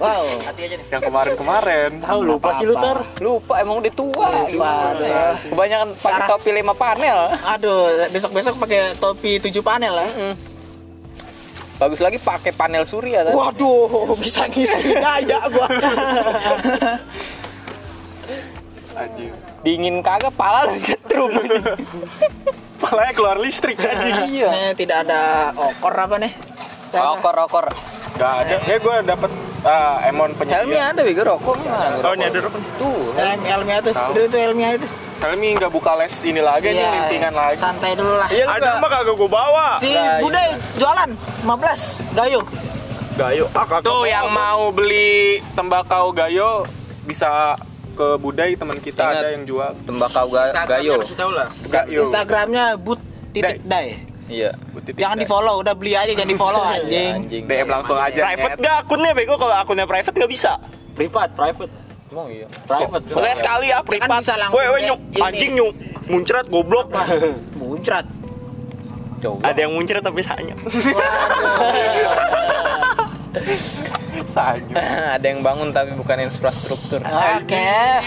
C: wow.
B: Yang kemarin-kemarin.
D: Tahu lupa sih lu, Tar.
A: lupa emang udah tua
C: Lupa,
A: Gimana? kebanyakan pakai topi lima panel
C: Aduh, besok-besok pakai topi tujuh panel ya.
A: bagus lagi pakai panel surya kan?
C: Waduh, bisa ngisi daya gua.
B: Anjing.
A: dingin kagak pala lu (laughs) cetrum
B: Palanya keluar listrik anjing.
A: iya
C: Nih, tidak ada okor apa nih?
A: rokok rokok
B: Gak ada. Ya gue dapet ah, emon
A: helmnya
B: penyedia.
A: ada bego rokok mana
D: Oh, ini ada rokok.
A: tuh
C: Helm, helmnya itu. Udah itu helmnya itu.
B: Helmi nggak buka les ini lagi,
C: Iya,
B: nih lintingan lagi.
C: Santai dulu lah.
A: iya
D: Ada
A: lu
D: mah
A: gak-
D: kagak gua bawa.
C: Si
A: Nah,
C: Bude jualan 15 gayo.
D: Gayo. Ah, kagak
B: Tuh
D: bawa.
B: yang mau beli tembakau gayo bisa ke Budai teman
A: Ingat.
B: kita ada yang jual
A: tembakau ga- gayo
B: gayo.
C: Instagramnya but titik dai.
A: iya
C: Jangan di follow, udah beli aja jangan di follow
A: (laughs) Iya,
C: anjing.
A: anjing
B: DM langsung aja.
D: Private
B: Nyet.
D: gak akunnya bego kalau akunnya private gak bisa.
A: privat private emang iya
D: Private. Soalnya sekali ya private.
C: bisa langsung
D: Weh, weh,
C: deh,
D: nyuk.
C: ini.
D: Anjing nyuk. Muncrat goblok.
A: iya. (laughs)
C: Muncrat.
A: coba (laughs)
D: Ada yang muncrat tapi sayang.
A: ada yang bangun tapi bukan infrastruktur
C: Oke.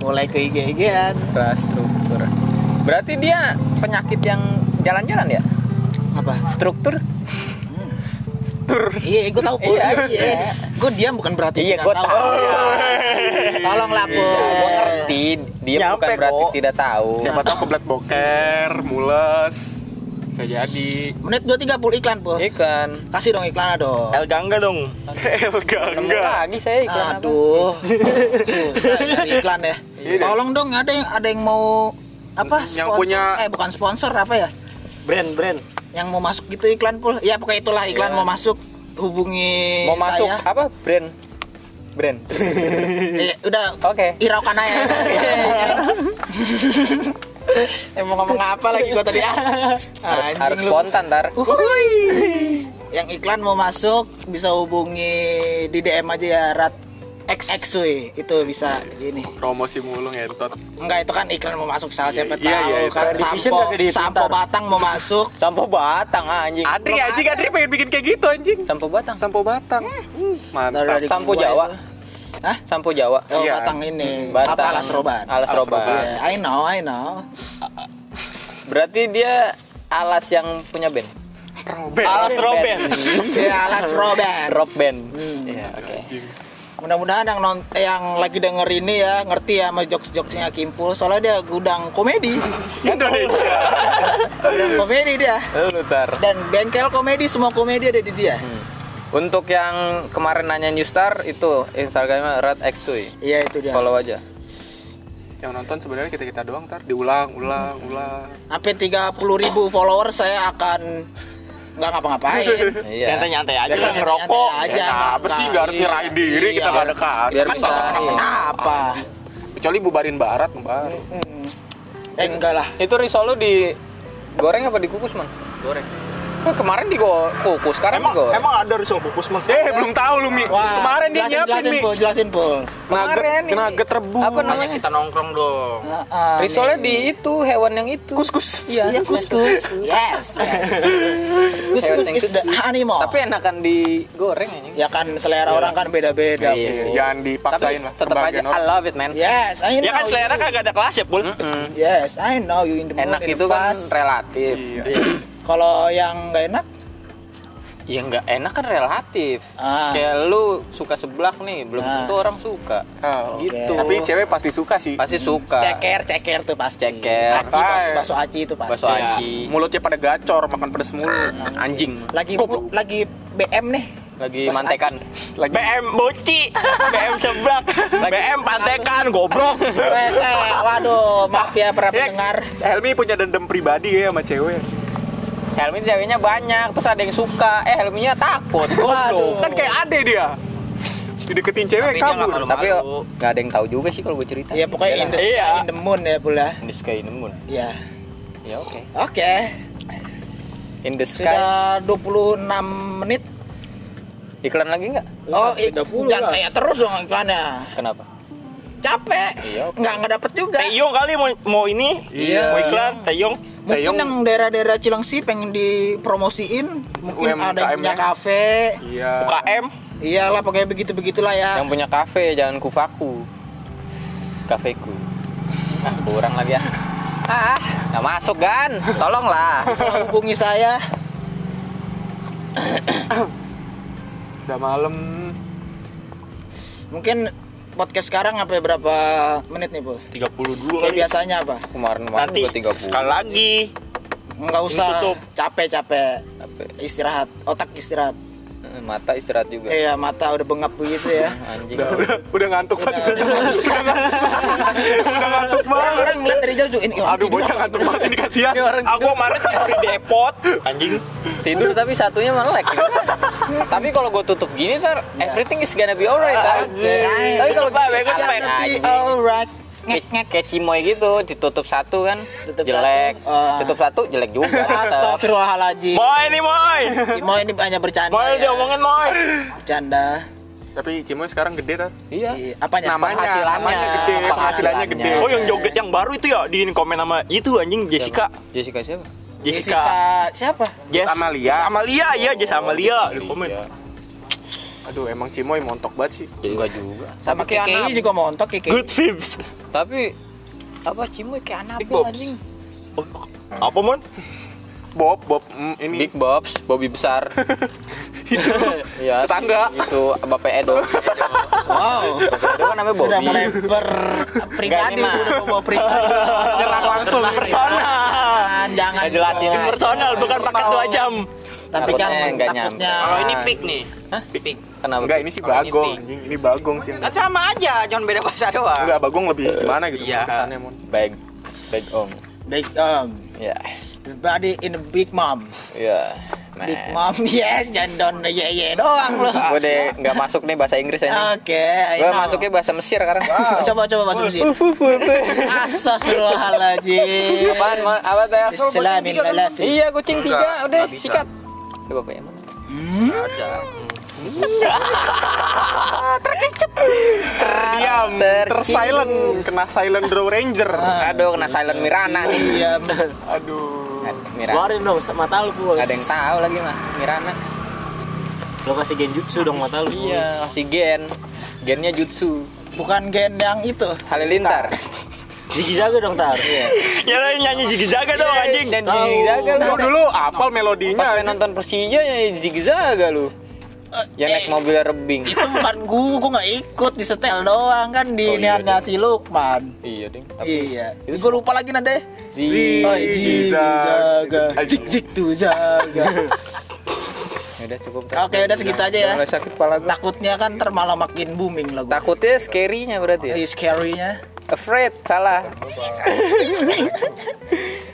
C: Mulai ke IG-IGan.
A: infrastruktur berarti dia penyakit yang jalan-jalan ya
C: Apa?
A: struktur
C: Iya, gue tahu Pul.
A: Iya, iya.
C: Gue diam bukan berarti
A: Iya,
C: tidak
A: gua tahu.
C: Tolong lah, Pul.
A: Iya, gua ngerti dia
D: Nyampe
A: bukan berarti
D: kok.
A: tidak tahu
B: Siapa tahu kebelat boker, mules. Bisa jadi.
C: Menit 230 iklan, Pul.
A: ikan
C: Kasih dong iklan dong.
D: El Gangga dong.
B: Enggak,
A: Nemu
B: enggak.
A: lagi saya iklan apa? (laughs)
C: Aduh. Susah nyari iklan ya.
A: Iya.
C: Tolong dong ada yang ada yang mau apa?
B: Yang
C: sponsor-
B: punya-
C: eh bukan sponsor apa ya?
D: Brand, brand.
C: Yang mau masuk gitu iklan pul. Ya pokoknya itulah iklan mau masuk hubungi
A: Iya. mau masuk
C: saya.
A: apa brand brand
C: Eh, udah
A: oke
C: hiraukan
A: (laughs)
C: aja.
A: Iya.
C: (laughs) Eh mau ngomong apa lagi gua tadi ah?
A: harus,
C: Anjing
A: harus
C: lu.
A: spontan tar
C: Uhuy. Yang iklan mau masuk bisa hubungi di DM aja ya Rat X Xui itu bisa gini.
B: Promosi mulu ngentot.
C: Enggak itu kan iklan mau masuk salah
B: Iya,
C: siapa tahu
B: iya, itu.
C: kan
D: Di vision
C: sampo
D: kagak dihitung,
C: sampo
D: Tar.
C: batang mau masuk.
A: sampo batang ah, anjing
B: Adri anjing, Adri pengen bikin kayak gitu anjing.
A: sampo batang
B: Sampo batang.
C: Eh.
B: Hmm,
C: Taruh
B: Mantap.
C: di
A: sampo
C: gua
A: jawa
C: itu. Hah?
A: sampo jawa Hmm.
C: Oh,
B: Iya.
C: batang ini.
A: Batang.
C: Apa alas roban?
A: Alas
B: Alas
A: roban.
B: roban.
C: Yeah, I know, I know. (laughs)
A: berarti dia alas yang punya band
D: Alas Roben.
C: Ya alas roban.
A: rock band
C: Hmm.
A: Iya, oke
C: Mudah-mudahan yang non eh, yang lagi denger ini ya ngerti ya sama jokes-jokesnya Kimpul soalnya dia gudang komedi.
B: (laughs) Indonesia.
C: gudang komedi dia.
A: Lu, Tar.
C: Dan bengkel komedi semua komedi ada di dia.
A: untuk yang kemarin nanya new star itu instagramnya rat xui
C: Iya itu dia.
A: follow aja
B: Yang nonton sebenarnya kita-kita doang, Tar. Diulang, ulang, ulang.
C: Sampai 30.000 ribu follower saya akan nggak ngapa-ngapain.
A: Iya.
D: Nyantai-nyantai aja
C: Biar
D: lah
C: nyantai-nyantai
D: ngerokok.
C: Ya, aja. nggak-
B: apa Ya, sih
C: nggak-
B: nggak harus nyerahin diri kita
C: Iya.
B: nggak ada kasus
A: Biar
B: kan
A: bisa.
B: nggak
A: iya.
C: Kenapa?
B: kecuali bubarin barat bubarin
C: Eh enggak lah.
A: Itu risol lu di goreng apa dikukus, Man?
D: Goreng.
A: Eh, kemarin dikukus, sekarang
D: Emang
A: digoreng.
D: emang ada risol kukus mah.
B: eh belum tahu lu mi kemarin dia
C: jelasin,
B: nyiapin
C: jelasin,
B: mi
C: Pul, jelasin Pul.
A: Kemarin ini.
B: nugget nugget rebus
A: Apa namanya?
D: kita nongkrong dong.
C: Heeh.
A: Risolnya di itu hewan yang itu.
B: kuskus
A: Iya.
C: Iya kuskus. Yes. Kuskus is the animal.
A: Tapi enakan digoreng anjing.
B: Iya,
C: ya kan selera orang kan beda-beda.
A: Iya
C: Pul.
A: sih.
B: jangan dipaksain lah
A: Tetap aja
B: kebahagiaan
A: I
B: orang.
A: love it, man.
C: Yes, I know.
D: Ya kan selera kagak ada kelas ya, Pul.
A: Mm-mm.
C: Yes, I know you in the mood,
A: Enak
C: in the
A: itu kan
C: fast.
A: relatif.
B: Iya.
C: Kalau yang nggak enak,
A: Ya nggak enak kan relatif.
C: Ah.
A: Kayak lu suka seblak nih, belum
C: Ah.
A: tentu orang suka.
B: Oh, oke.
A: Gitu.
B: tapi cewek pasti suka sih
A: pasti
C: Hmm,
A: suka.
C: ceker, ceker tuh pasti.
A: Ceker.
C: Aci, ba-
B: Ah.
C: bakso aci itu pasti.
A: Bakso
B: Ya,
A: aci.
B: mulutnya pada gacor makan pedes mulu
A: Anjing.
C: Lagi mood, lagi BM nih.
A: Lagi
C: Bakso
A: mantekan.
B: lagi
D: BM boci, BM seblak, BM pantekan, goblok.
C: Wes, eh, waduh, maaf ya para pendengar.
B: Helmi punya dendam pribadi ya sama cewek
A: Helmi ceweknya banyak, terus ada yang suka. Eh, Helminya takut.
B: Waduh.
A: Goblok.
B: kan kayak ade dia dideketin cewek
D: Tapi dia nggak
B: kabur
D: malu.
A: Tapi oh, nggak ada yang tahu juga sih kalau gue cerita.
C: Ya pokoknya in the,
D: Iya.
C: in the moon ya pula.
A: In the sky in the moon.
C: Ya.
A: Ya oke.
C: Oke,
A: In the sky.
C: sudah 26 menit.
A: Iklan lagi nggak?
C: Oh, i- jangan saya terus dong iklannya.
A: Kenapa?
C: Capek.
A: Iya, oke.
C: Nggak ngedapet juga.
D: Teyong kali mau mau ini,
B: Iya.
D: mau iklan, Teyong.
C: Mungkin
B: Teyong.
C: yang daerah-daerah Cilengsi pengen dipromosiin, mungkin
B: UMKM-nya.
C: ada yang
A: ya.
C: punya kafe.
B: iya
D: UKM,
C: Iyalah pokoknya begitu-begitulah ya.
A: Yang punya kafe jangan kufaku. Kafeku. Nah, kurang lagi ya. Ah, nggak masuk kan? Tolonglah.
C: Bisa hubungi saya.
B: udah malam
C: Mungkin podcast sekarang apa ya, berapa menit nih, Bu?
D: 32
C: Kayak
D: kali.
C: biasanya apa?
A: Kemarin kemarin
D: Nanti
A: gua tiga
D: sekali lagi.
C: Nggak usah
D: tutup.
C: capek-capek istirahat, otak istirahat.
A: Eh, Mata istirahat juga.
C: Iya, mata udah bengap begitu ya.
D: (laughs)
A: Anjing.
B: udah udah, (laughs) udah ngantuk banget
C: Udah nggak bisa.
B: (laughs) udah ngantuk banget
C: Orang ngeliat dari jauh juga, ini. orang
B: aduh
C: tidur
B: bocah
C: apa?
B: ngantuk banget ini kasihan
A: Ini orang
D: Aku kemarin tidur di depot, anjing.
A: tidur tapi satunya melek. tapi kalau gue tutup gini ntar everything is gonna be alright kan.
C: Anjing.
A: Tapi kalau
D: Tutup lah,
A: gini
D: bagus,
A: salah,
D: Pak.
C: Tapi
A: anjing.
C: gitu, alright.
A: Kayak- kayak cimoy gitu ditutup satu kan
C: Tutup
A: jelek
C: satu, ah.
A: tutup satu Oh. jelek juga tetap.
C: Astagfirullahaladzim.
D: Moy nih, Moy. Iya.
C: Cimo ini hanya bercanda
D: Moy
C: ya.
D: diomongin, Moy.
C: Bercanda.
B: tapi Cimoy sekarang gede kan
A: iya
C: Iya, Apanya?
B: Namanya,
A: penghasilannya
B: namanya gede, penghasilannya gede.
D: Oh, yang joget yang baru itu ya, diin komen sama itu anjing Jessica.
A: Jessica siapa
D: Jessica.
C: siapa?
B: Jess
D: Jess
B: Amalia. Oh,
D: Jess Amalia, iya Jess Amalia di komen.
A: Iya.
B: aduh emang Cimoy montok banget sih
A: enggak juga
C: Sama
A: kayak
C: Kiki
A: Anab.
C: juga montok Kiki.
D: Good vibes.
A: tapi apa cimoy kayak Anabil
B: Bobs.
A: anjing
D: Oh, Apa mon?
B: Bob Bob mm, ini
A: Big Bobs Bobby besar (laughs) Iya,
B: Tetangga.
A: itu Bapak Edo
C: Wow.
A: Bapak Edo kan namanya Bobby
C: Sudah mulai ber pribadi
A: Enggak, ini
C: udah
A: mah.
C: bawa pribadi.
B: nyerang langsung
D: Personal.
C: Jangan, jangan.
A: Nggak jelasin
C: dong.
A: aja.
D: Personal bukan pakai dua jam.
C: Tapi kan
A: Takutnya nggak
C: takutnya.
A: nyampe.
D: Iya. Kalau ini pick nih. Hah? Pick.
A: kenapa
B: enggak ini sih bagong anjing ini bagong sih
D: Kan sama aja, cuma beda bahasa doang.
B: enggak bagong lebih gimana gitu
D: Iya.
B: kesannya mon
A: bag bag om
C: Big um,
A: ya
C: everybody in a big mom.
A: ya
C: Big mom. (laughs) Yes, jangan don ye ye doang loh.
A: gue deh nggak masuk nih bahasa Inggris aja
C: Oke, I
A: gue
C: know.
A: masuknya bahasa Mesir sekarang
C: (laughs)
A: (laughs)
C: Coba coba masuk sini. Astagfirullahaladzim.
A: apaan mau apa teh
C: Islamin walafi.
A: iya kucing tiga udah sikat Aduh, bapak ya, yang mana (laughs)
B: diam
A: Terkicau.
B: tersilent kena silent draw ranger
A: aduh kena silent Mirana nih
C: Iya, bener.
B: aduh
D: Iya.
A: Mirana
G: Keluarin dong mata lu pun.
A: Gak ada yang tahu lagi mah Mirana
G: Lo kasih genjutsu dong mata lu.
A: iya kasih gen gennya jutsu
C: bukan gen yang itu.
A: halilintar
G: Ziggy Jago dong tar.
D: Ya lo nyanyi jigi jaga dong anjing.
A: Iya, dan zigzaga lu
B: Gua dulu
A: nah, pas
B: apal melodinya
A: main nonton Persija ya zigzaga lu yang naik mobil rebing
C: Eh, itu bukan gua, gua nggak ikut di setel doang kan di
A: Oh, iya, deh.
C: niatnya si Lukman.
A: iya ding
C: Iya,
A: itu
C: gua lupa lagi nade.
A: Zi
C: Oh, jig jaga, jig jig tuh
A: (laughs)
C: jaga.
A: Ya udah cukup
C: Oke, udah segitu aja ya.
A: Jangan sakit kepala gua
C: Takutnya kan ntar malah makin booming lagu. Iya.
A: takutnya scary-nya berarti ya
C: Ini scary-nya.
A: Afraid salah.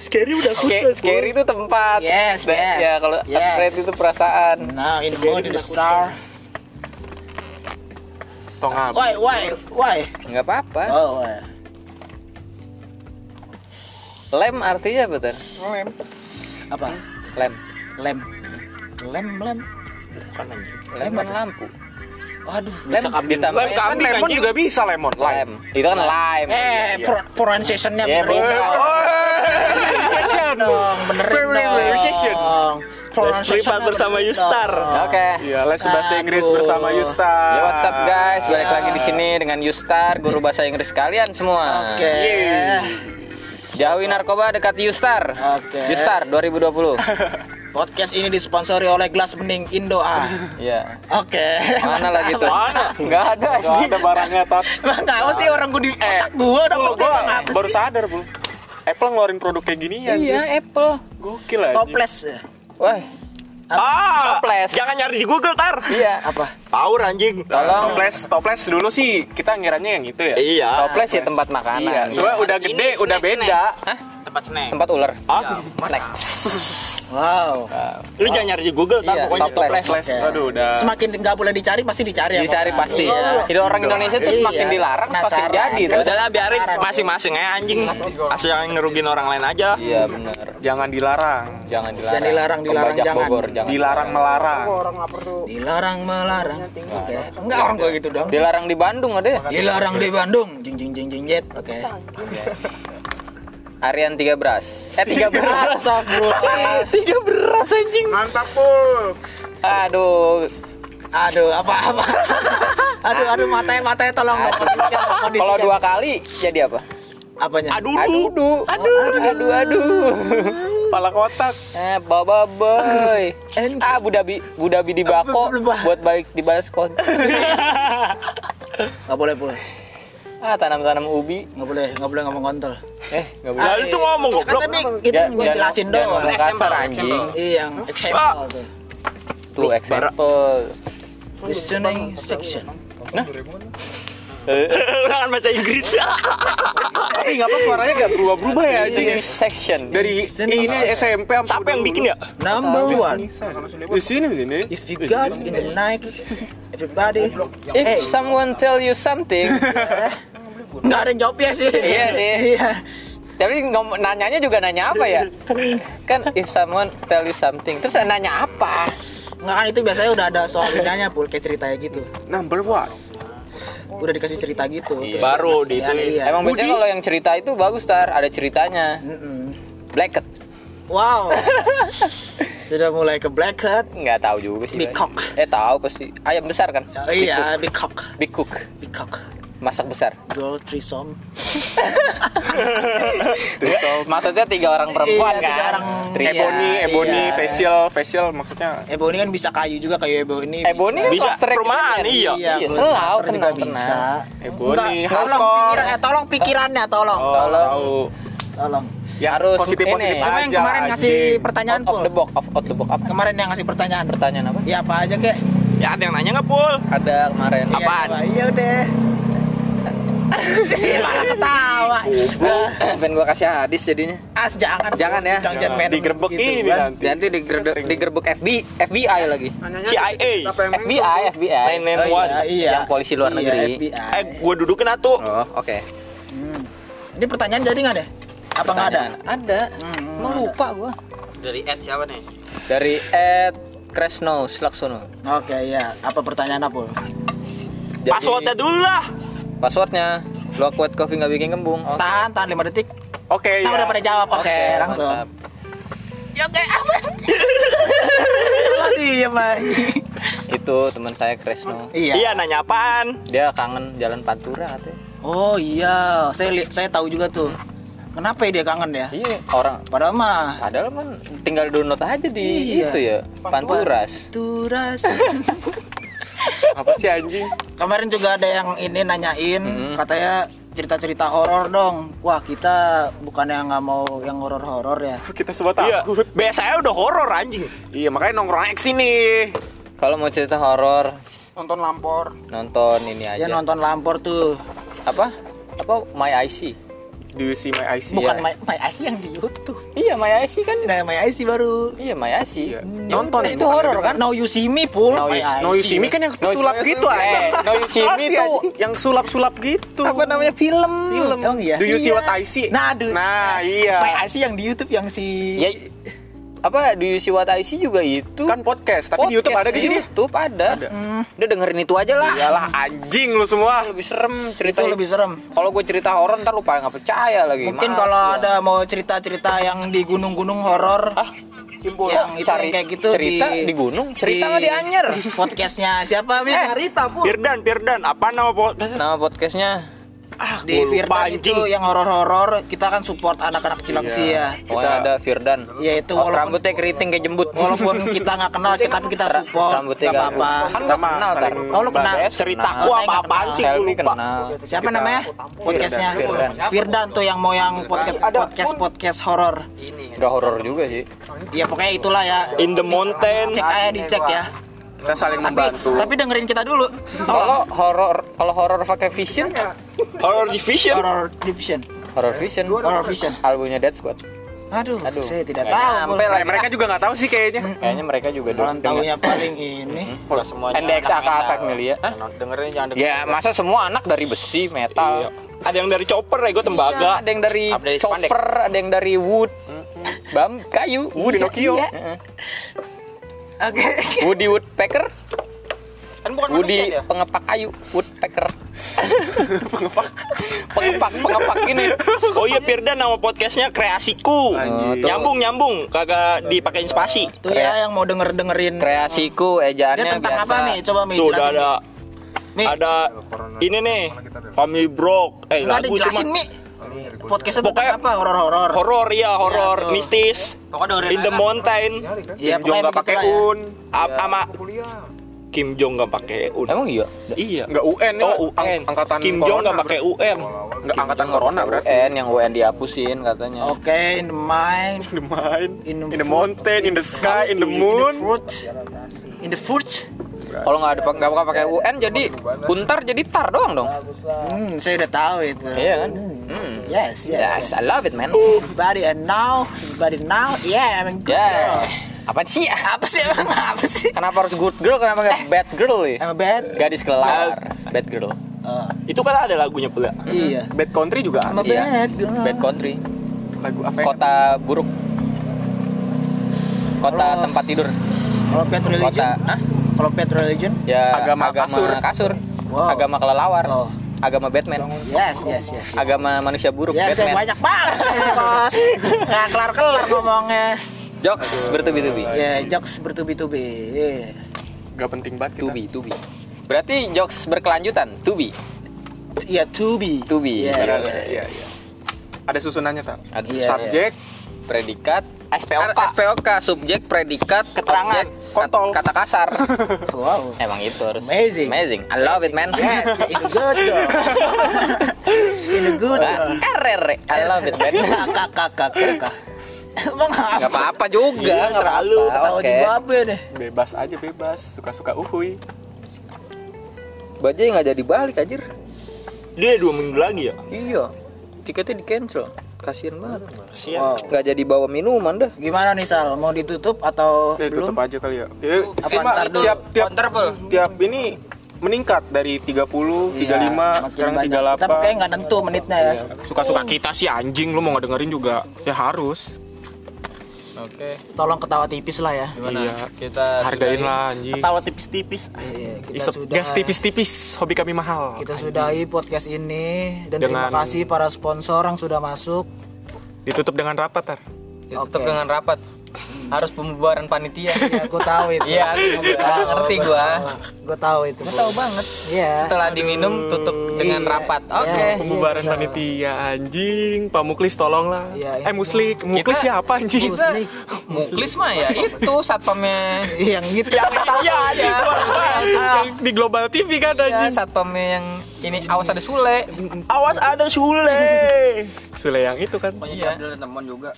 D: Scary udah
A: Sca- scary itu tempat.
C: Yes,
A: Dan-
C: yes,
A: Ya kalau
C: yes.
A: afraid itu perasaan.
C: Now in the mood in Nah, the star.
F: Tong abis.
C: Why, why, why?
A: Nggak apa-apa.
C: Oh, why?
A: Lem artinya apa Ter?
C: apa?
A: Lem.
C: Lem, lem, lem.
A: Lem kan lampu.
C: Aduh.
A: Bisa kambing.
F: Lem kambing lemon juga bisa lemon.
A: Lem. Itu kan lime.
C: Eh, pro- pronunciation-nya
A: Ya,
C: benerin
A: bener.
C: dong. Pronunciation dong, benerin dong.
D: Privat bersama Yustar.
A: Oke.
F: Iya, les bahasa Inggris
C: Aduh.
F: bersama Yusta.
B: Ah.
A: Ya what's up guys, balik lagi di sini dengan Yustar, guru bahasa Inggris kalian semua.
C: Oke.
A: Jauhi narkoba dekat Yustar.
C: Oke.
A: Yustar 2020.
C: Podcast ini disponsori oleh Glass Bening Indo A.
A: (laughs) Iya.
C: Oke.
A: Mana lagi tuh? Mana? Enggak ada.
F: Gak ada barangnya tat.
C: (laughs) Emang tahu sih orang gue di otak gua udah
F: Gua,
C: ngerti
F: gua
C: emang apa
F: baru
C: sih?
F: sadar bu. Apple ngeluarin produk kayak gini ya.
A: Iya, Apple.
F: Gokil aja.
C: Toples.
A: Wah,
D: Ah,
A: Toples.
D: Jangan nyari di Google tar.
A: iya.
D: Power anjing.
A: Tolong
F: Toples, toples dulu sih kita ngirannya yang itu ya.
B: nah,
D: Iya.
A: toples ya tempat makanan.
F: Iya, soalnya udah gede, udah beda.
G: Tempat snack.
A: Tempat ular.
D: Ah,
A: Snack.
C: Wow.
D: lu jangan nyari di Google tar
A: Iya,
D: pokoknya.
A: toples.
F: Toples, aduh udah.
C: ya. Semakin nggak boleh dicari pasti dicari. ya,
A: Dicari
C: Pak.
A: pasti ya. Hidup orang Indonesia tuh
C: Iya.
A: semakin dilarang semakin
C: Penasaran.
A: jadi.
D: Ya
A: tuh.
D: udahlah biarin masing-masing ya anjing. Asal yang ngerugin orang lain aja.
A: Iya benar.
F: Jangan dilarang.
A: Jangan dilarang.
C: Jangan dilarang, dilarang,
A: Kembajak
C: jangan.
A: Bogor, jangan.
F: Dilarang
D: (laughs)
F: melarang.
C: Dilarang melarang. Oke. Enggak orang gua gitu dong.
A: Dilarang di Bandung ada ya?
C: Dilarang di Bandung. Jing jing jing jing jet. Oke.
A: Arian 13. Eh 13.
C: Asap bro.
A: (laughs)
F: Mantap bu.
A: Aduh.
C: Aduh, apa
A: (laughs)
C: apa. Aduh, aduh matanya matanya tolong dong. Kondisikan, kondisikan.
A: Kalau dua kali jadi apa?
C: apanya?
D: Aduh,
A: Aduh, aduh, aduh, aduh, aduh.
F: Pala kotak.
A: Eh, baba boy.
C: And-
A: Ah, Budabi, Budabi di Bako buat balik dibalas kon.
C: Nggak boleh, boleh.
A: Ah, tanam-tanam ubi.
C: Nggak boleh, nggak boleh ngomong kontol. Kan
A: Eh, nggak boleh.
C: Ah,
D: Lalu tuh ngomong
C: Tapi
D: goblok.
C: itu
A: Jangan-
C: gue
A: jangan-
C: jelasin
A: jangan
C: doang.
A: ngomong kasar anjing.
C: Iya, yang
D: Ah.
C: example tuh.
A: Tuh example.
C: Listening section.
D: Ulangan kan bahasa Inggris.
F: Tapi nggak apa suaranya nggak berubah-berubah ya anjing.
A: Ini section.
F: Dari
A: iya.
F: ini SMP sampai
D: Siapa yang bikin ya?
C: Number one,
F: Di sini di sini.
C: if you got in the night, (laughs) everybody.
A: If someone tell you something,
C: Nggak ada yang jawab ya sih.
A: Iya sih.
C: Iya.
A: tapi ngom- nanyanya juga nanya apa ya? Kan if someone tell you something, terus nanya apa?
C: Nggak kan itu biasanya udah ada soal bedanya pul kayak ceritanya gitu.
F: Number one.
C: Udah dikasih cerita gitu. Terus
D: Baru di
C: sekalian,
D: itu.
C: iya.
A: Emang biasanya kalau yang cerita itu bagus tar, ada ceritanya.
C: Mm-mm.
A: Blacket (laughs)
C: Wow. Sudah mulai ke blackhead.
A: nggak tahu juga sih.
C: Big cock.
A: Eh tahu pasti. Ayam besar kan?
C: Oh,
A: (laughs)
C: iya, big cock.
A: Big cook,
C: Big cock.
A: masak besar.
C: Girl threesome.
A: Iya, Maksudnya tiga orang perempuan
C: Iya,
A: kan?
C: tiga orang.
A: Trisha.
F: Ebony, ebony,
C: iya.
F: facial, facial maksudnya.
C: Ebony kan bisa kayu juga kayu Ebony.
A: Ebony kan
D: Bisa
A: cluster
D: perumahan, iya.
A: Iya,
C: Golden
A: selau,
C: Master juga
A: tenang,
C: bisa.
F: Ebony,
C: Enggak, tolong
F: hardcore.
C: pikirannya, tolong pikirannya, tolong.
F: Oh,
A: Tolong.
F: tahu.
C: Tolong.
F: Ya,
A: Harus
F: positif positif
A: ini.
F: aja.
C: Apa yang kemarin ngasih
F: anjing.
C: pertanyaan
A: Out of
C: pul?
A: the box, out, out the box. Apa?
C: Kemarin yang ngasih pertanyaan.
A: Pertanyaan apa?
C: Ya apa aja kek?
D: Ya ada yang nanya nggak pul?
A: Ada kemarin.
C: Iya,
D: Apaan?
C: coba. Iya deh. Malah ketawa.
A: Pengen gua kasih hadis jadinya.
C: As jangan.
A: Jangan ya.
C: Jangan,
F: Jangan,
C: jangan
F: digerebek ini
C: kan.
F: nanti.
A: Nanti digerebek, digerebek FBI, FBI lagi.
D: CIA.
A: FBI, FBI.
C: Oh, iya,
D: 991.
C: iya.
A: Yang polisi luar
C: Iya,
A: negeri.
C: FBI.
D: Eh, gua dudukin atuh.
A: Oh, oke.
C: Hmm. Ini pertanyaan jadi nggak deh? Apa nggak ada? Hmm.
A: Ada. Emang lupa gua.
G: Dari Ed siapa nih?
A: Dari Ed Kresno Slaksono.
C: Oke iya. Apa pertanyaan apa?
A: Jadi-
D: Passwordnya dulu lah.
A: Passwordnya Lo kuat coffee nggak bikin kembung Oke
C: Tahan, tahan 5 detik.
F: Oke,
D: Iya.
C: Nah, udah
F: ya.
C: pada jawab. Oke, langsung.
A: mantap.
C: Iya,
A: Itu teman saya Kresno
C: Iya.
D: Iya, nanya apaan?
A: Dia kangen jalan Pantura katanya
C: Oh iya, saya li- saya tahu juga tuh. Kenapa ya dia kangen ya?
A: Iya orang
C: Padahal mah
A: Padahal kan tinggal download aja di
C: Iya.
A: itu ya Panturas (laughs)
C: turas.
F: Apa sih anjing?
C: Kemarin juga ada yang ini nanyain,
A: Mm-hmm.
C: katanya cerita-cerita horor dong. Wah kita bukan yang nggak mau yang horor-horor ya.
F: Kita semua
D: (laughs) Iya.
F: takut.
D: Biasanya udah horor anjing.
F: Iya, makanya nongkrong X ini.
A: Kalau mau cerita horor
B: Nonton lampor.
A: Nonton ini
C: Dia
A: aja
C: nonton lampor Ya, tuh.
A: Apa? apa my IC
F: Do you see my IC?
C: Bukan
A: Iya.
C: my, my IC yang di YouTube.
A: iya my IC kan
C: Nah, my IC baru.
A: iya my IC
F: Iya.
A: nonton itu horor kan
C: Now you see me pul.
A: Now
C: my
A: you-
C: IC.
F: No you see me kan yang sulap gitu (laughs)
A: eh,
F: anjing.
A: no you see me tuh
F: yang sulap-sulap gitu.
A: apa namanya film
C: Film. Emang iya?
F: Do you see
C: Iya.
F: what I see?
C: Nah, do-
F: Nah,
C: My
F: iya.
C: IC yang di YouTube yang si
A: ya apa do you see what I see juga itu
F: Kan podcast, tapi di YouTube ada di sini.
A: YouTube ada, Hmm. udah dengerin itu aja
D: iya.
A: lah
F: Iyalah anjing lu semua.
A: lebih serem cerita
C: itu lebih serem.
A: kalau gue cerita horor ntar lu pada nggak percaya lagi
C: Mungkin
A: Males
C: kalau
A: gua.
C: ada mau cerita-cerita yang di gunung-gunung horor, yang itu
A: Ah, cari
C: yang kayak gitu
A: cerita di, gunung cerita nggak di Anyer
C: Podcastnya siapa Bin? Cerita pul.
D: Pirdan, Pirdan, apa nama ah, podcastnya?
A: nama podcastnya
C: Di Firdan itu yang horor-horor kita kan support anak-anak Cilangsi ya.
A: pokoknya ada Firdan
C: Ya, itu
A: Oh,
C: walaupun-
A: rambutnya keriting kayak jembut
C: Walaupun kita nggak kenal, tapi kita support.
A: (laughs) rambutnya
C: Gak apa-apa.
A: kan gak kenal tar
C: Oh, lu kenal? Saya
D: Ceritaku
C: nggak
D: apa-apaan
C: kenal.
D: sih gue
A: Helmi
D: lupa.
A: kenal
C: Siapa namanya? Podcastnya
A: Firdan.
C: Firdan. Firdan tuh yang mau yang podcast podcast podcast horor.
A: gak horor juga sih
C: Ya pokoknya itulah ya.
D: In the mountain.
C: Cek aja dicek ya.
F: Kita saling membantu.
C: Tapi dengerin kita dulu.
A: kalau horor kalau horor pakai vision
D: Horror Division.
C: Horror Division.
A: horor vision
C: Horror Vision. Ah,
A: albumnya Dead Squad
C: Aduh,
A: aduh
C: saya tidak
A: nggak
C: tahu.
A: nyampe lah
F: Eh, mereka juga nggak tahu sih kayaknya.
A: kayaknya mereka juga
C: Orang
A: denger-
C: tahunya paling ini.
D: Hmm.
G: Kalau semuanya
A: NDX
G: anak
A: AKA
G: metal.
A: Familia. Hah?
G: Jangan- Dengerin jangan dengerin.
A: Ya masa semua anak dari besi metal.
D: Iya. Ada yang dari chopper ya, gue tembaga.
A: Iya, Ada yang dari
G: Ada dari spandek.
A: chopper, ada yang dari wood, bam kayu, Iya. wood Pinocchio,
C: Oke.
A: (laughs) Woody Woodpecker,
G: Kan bukan manusia
A: Woody
G: dia.
A: pengepak kayu,
C: (laughs)
A: woodpecker. pengepak, pengepak, pengepak ini.
D: Oh iya Pirdan nama podcastnya Kreasiku.
A: Anjing.
D: Nyambung nyambung, kagak dipakein spasi.
C: Tuh ya yang mau denger-dengerin.
A: Kreasiku
C: Dia
A: ejaannya
C: tentang
A: biasa.
C: apa nih? Coba Mi
D: Tuh udah
C: jelasin.
D: ada
C: Mi,
D: ada ini nih Family Brok. Eh
C: nggak ada
D: lagu itu
C: jelasin
D: mah.
C: Mi. Podcastnya tentang
D: Pokoknya-
C: apa? Horor-horor.
D: Horor ya,
C: Iya,
D: horor
C: tuh.
D: mistis.
G: Pokoknya dengerin
D: In the
G: aja.
D: mountain.
C: Iya,
F: Jong nggak pakai
C: begitulah ya.
F: un,
D: A- Sama Kim Jong nggak pakai UN.
A: Emang iya.
D: Iya.
F: nggak UN ya.
D: Oh UN.
F: Ang- angkatan
D: Kim Jong nggak
F: corona,
D: pakai UN.
F: berarti. nggak angkatan corona berarti.
A: UN yang UN dihapusin katanya.
C: Oke, in the mind,
F: In the mind,
C: In the
F: in the mountain, in the sky, in the moon.
C: fruit, in the fruit.
A: Kalau nggak ada nggak bakal
C: Iya.
A: pakai UN jadi untar jadi tar doang dong.
C: Hmm, saya udah tahu itu.
A: Iya kan? Hmm.
C: Yes, yes.
A: Yes, I love it man.
C: Body and now, body now, yeah, I'm good.
A: Yeah.
C: girl.
A: Apa sih?
C: Apa sih emang apa sih?
A: Kenapa harus good girl? Kenapa nggak bad girl ya?
C: I'm a bad.
A: Gadis kelelawar, bad girl.
D: Itu kan ada lagunya pula.
C: Iya.
F: Bad country juga
C: I'm a
F: ada.
A: Iya.
C: bad girl.
A: Bad country,
F: Lagu apa ya?
A: kota buruk. Kota tempat tidur,
C: Kalau bad religion,
A: kota Hah?
C: kalau bad religion,
A: ya
F: Agama kasur.
A: kasur.
C: Wow.
A: Agama kelelawar,
C: Oh.
A: agama Batman,
C: yes, yes, yes. yes.
A: agama manusia buruk,
C: Ya, saya
A: Batman.
C: banyak banget, ini, bos. Nggak kelar-kelar ngomongnya.
A: Jokes bertubi-tubi.
C: Ya, jokes bertubi-tubi. Iya.
F: Gak penting banget kita.
A: Tubi, tubi. Berarti jokes berkelanjutan, tubi.
C: Iya, to be.
A: To be.
C: Iya,
F: Iya,
C: iya,
F: iya, iya, iya. Ada susunannya tak?
A: Ada
C: Iya,
F: Subjek,
A: predikat, R-
D: SPOK.
A: SPOK, subjek, predikat,
D: Keterangan,
A: objek, kat-
F: kontol.
A: kata kasar.
C: iya. Wow.
A: Emang itu harus.
C: Amazing.
A: Amazing. I love it, man.
C: Yes, in a good girl. in a
A: (laughs)
C: good
A: Nah,
C: girl.
A: RR, I love it,
C: (laughs)
A: man.
C: Kakak, kakak, kakak. Emang apa?
A: Gak apa-apa juga.
C: Ya,
D: Iya, selalu.
C: Tahu
A: Oke.
C: juga apa deh.
F: bebas aja bebas, suka-suka uhui.
A: Bajaj nggak jadi balik, anjir.
D: Dia dua minggu lagi ya.
A: Iya. Tiketnya di cancel. Kasian banget.
D: Kasihan.
A: Nggak jadi bawa minuman dah.
C: Gimana nih Sal? Mau ditutup atau
F: Ya,
C: belum? Iya,
F: tutup aja kali ya. Ya,
C: Apa,
F: Pak,
C: ntar dulu?
F: tiap tiap
G: Counter, Pul.
F: tiap ini meningkat dari 30,
C: Iya,
F: 35,
C: makin
F: sekarang
C: banyak. Tapi kayaknya
F: 38.
C: nggak nentu menitnya
F: Iya.
C: ya.
F: Suka-suka kita sih anjing lu mau nggak dengerin juga. Ya harus.
A: Oke.
C: Tolong ketawa tipis lah ya.
A: Gimana?
F: Iya.
A: Kita
F: Hargain lah anjing.
D: Tawa tipis-tipis.
C: Iya, kita
F: Isep
C: sudah
F: gas tipis-tipis, hobi kami mahal.
C: Kita sudahi podcast ini dan terima
F: Dengan-
C: kasih para sponsor yang sudah masuk.
F: Ditutup dengan rapat, Tar.
A: Tutup
C: Oke.
A: dengan rapat. Harus pembubaran (laughs) panitia.
C: Ya, gue tahu itu.
A: Iya, aku juga ngerti gua.
C: Gue tahu itu. Gue tahu banget. Iya.
A: Setelah diminum tutup dengan
C: Iya.
A: rapat. Oke.
C: Iya.
F: Pembubaran
C: bisa.
F: panitia anjing, Pak Muklis tolonglah.
C: Iya,
F: eh
C: iya.
F: Muslik, Muklis
A: Kita-
F: siapa anjing?
A: kita-
C: Muslik.
A: muklis mah ya itu satpamnya
C: yang gitu yang
A: iya
B: Yang di Global TV kan
A: iya
B: anjing.
A: satpamnya yang ini awas ada sule
D: Awas ada Sule.
B: Sule yang itu kan.
A: iya
H: teman juga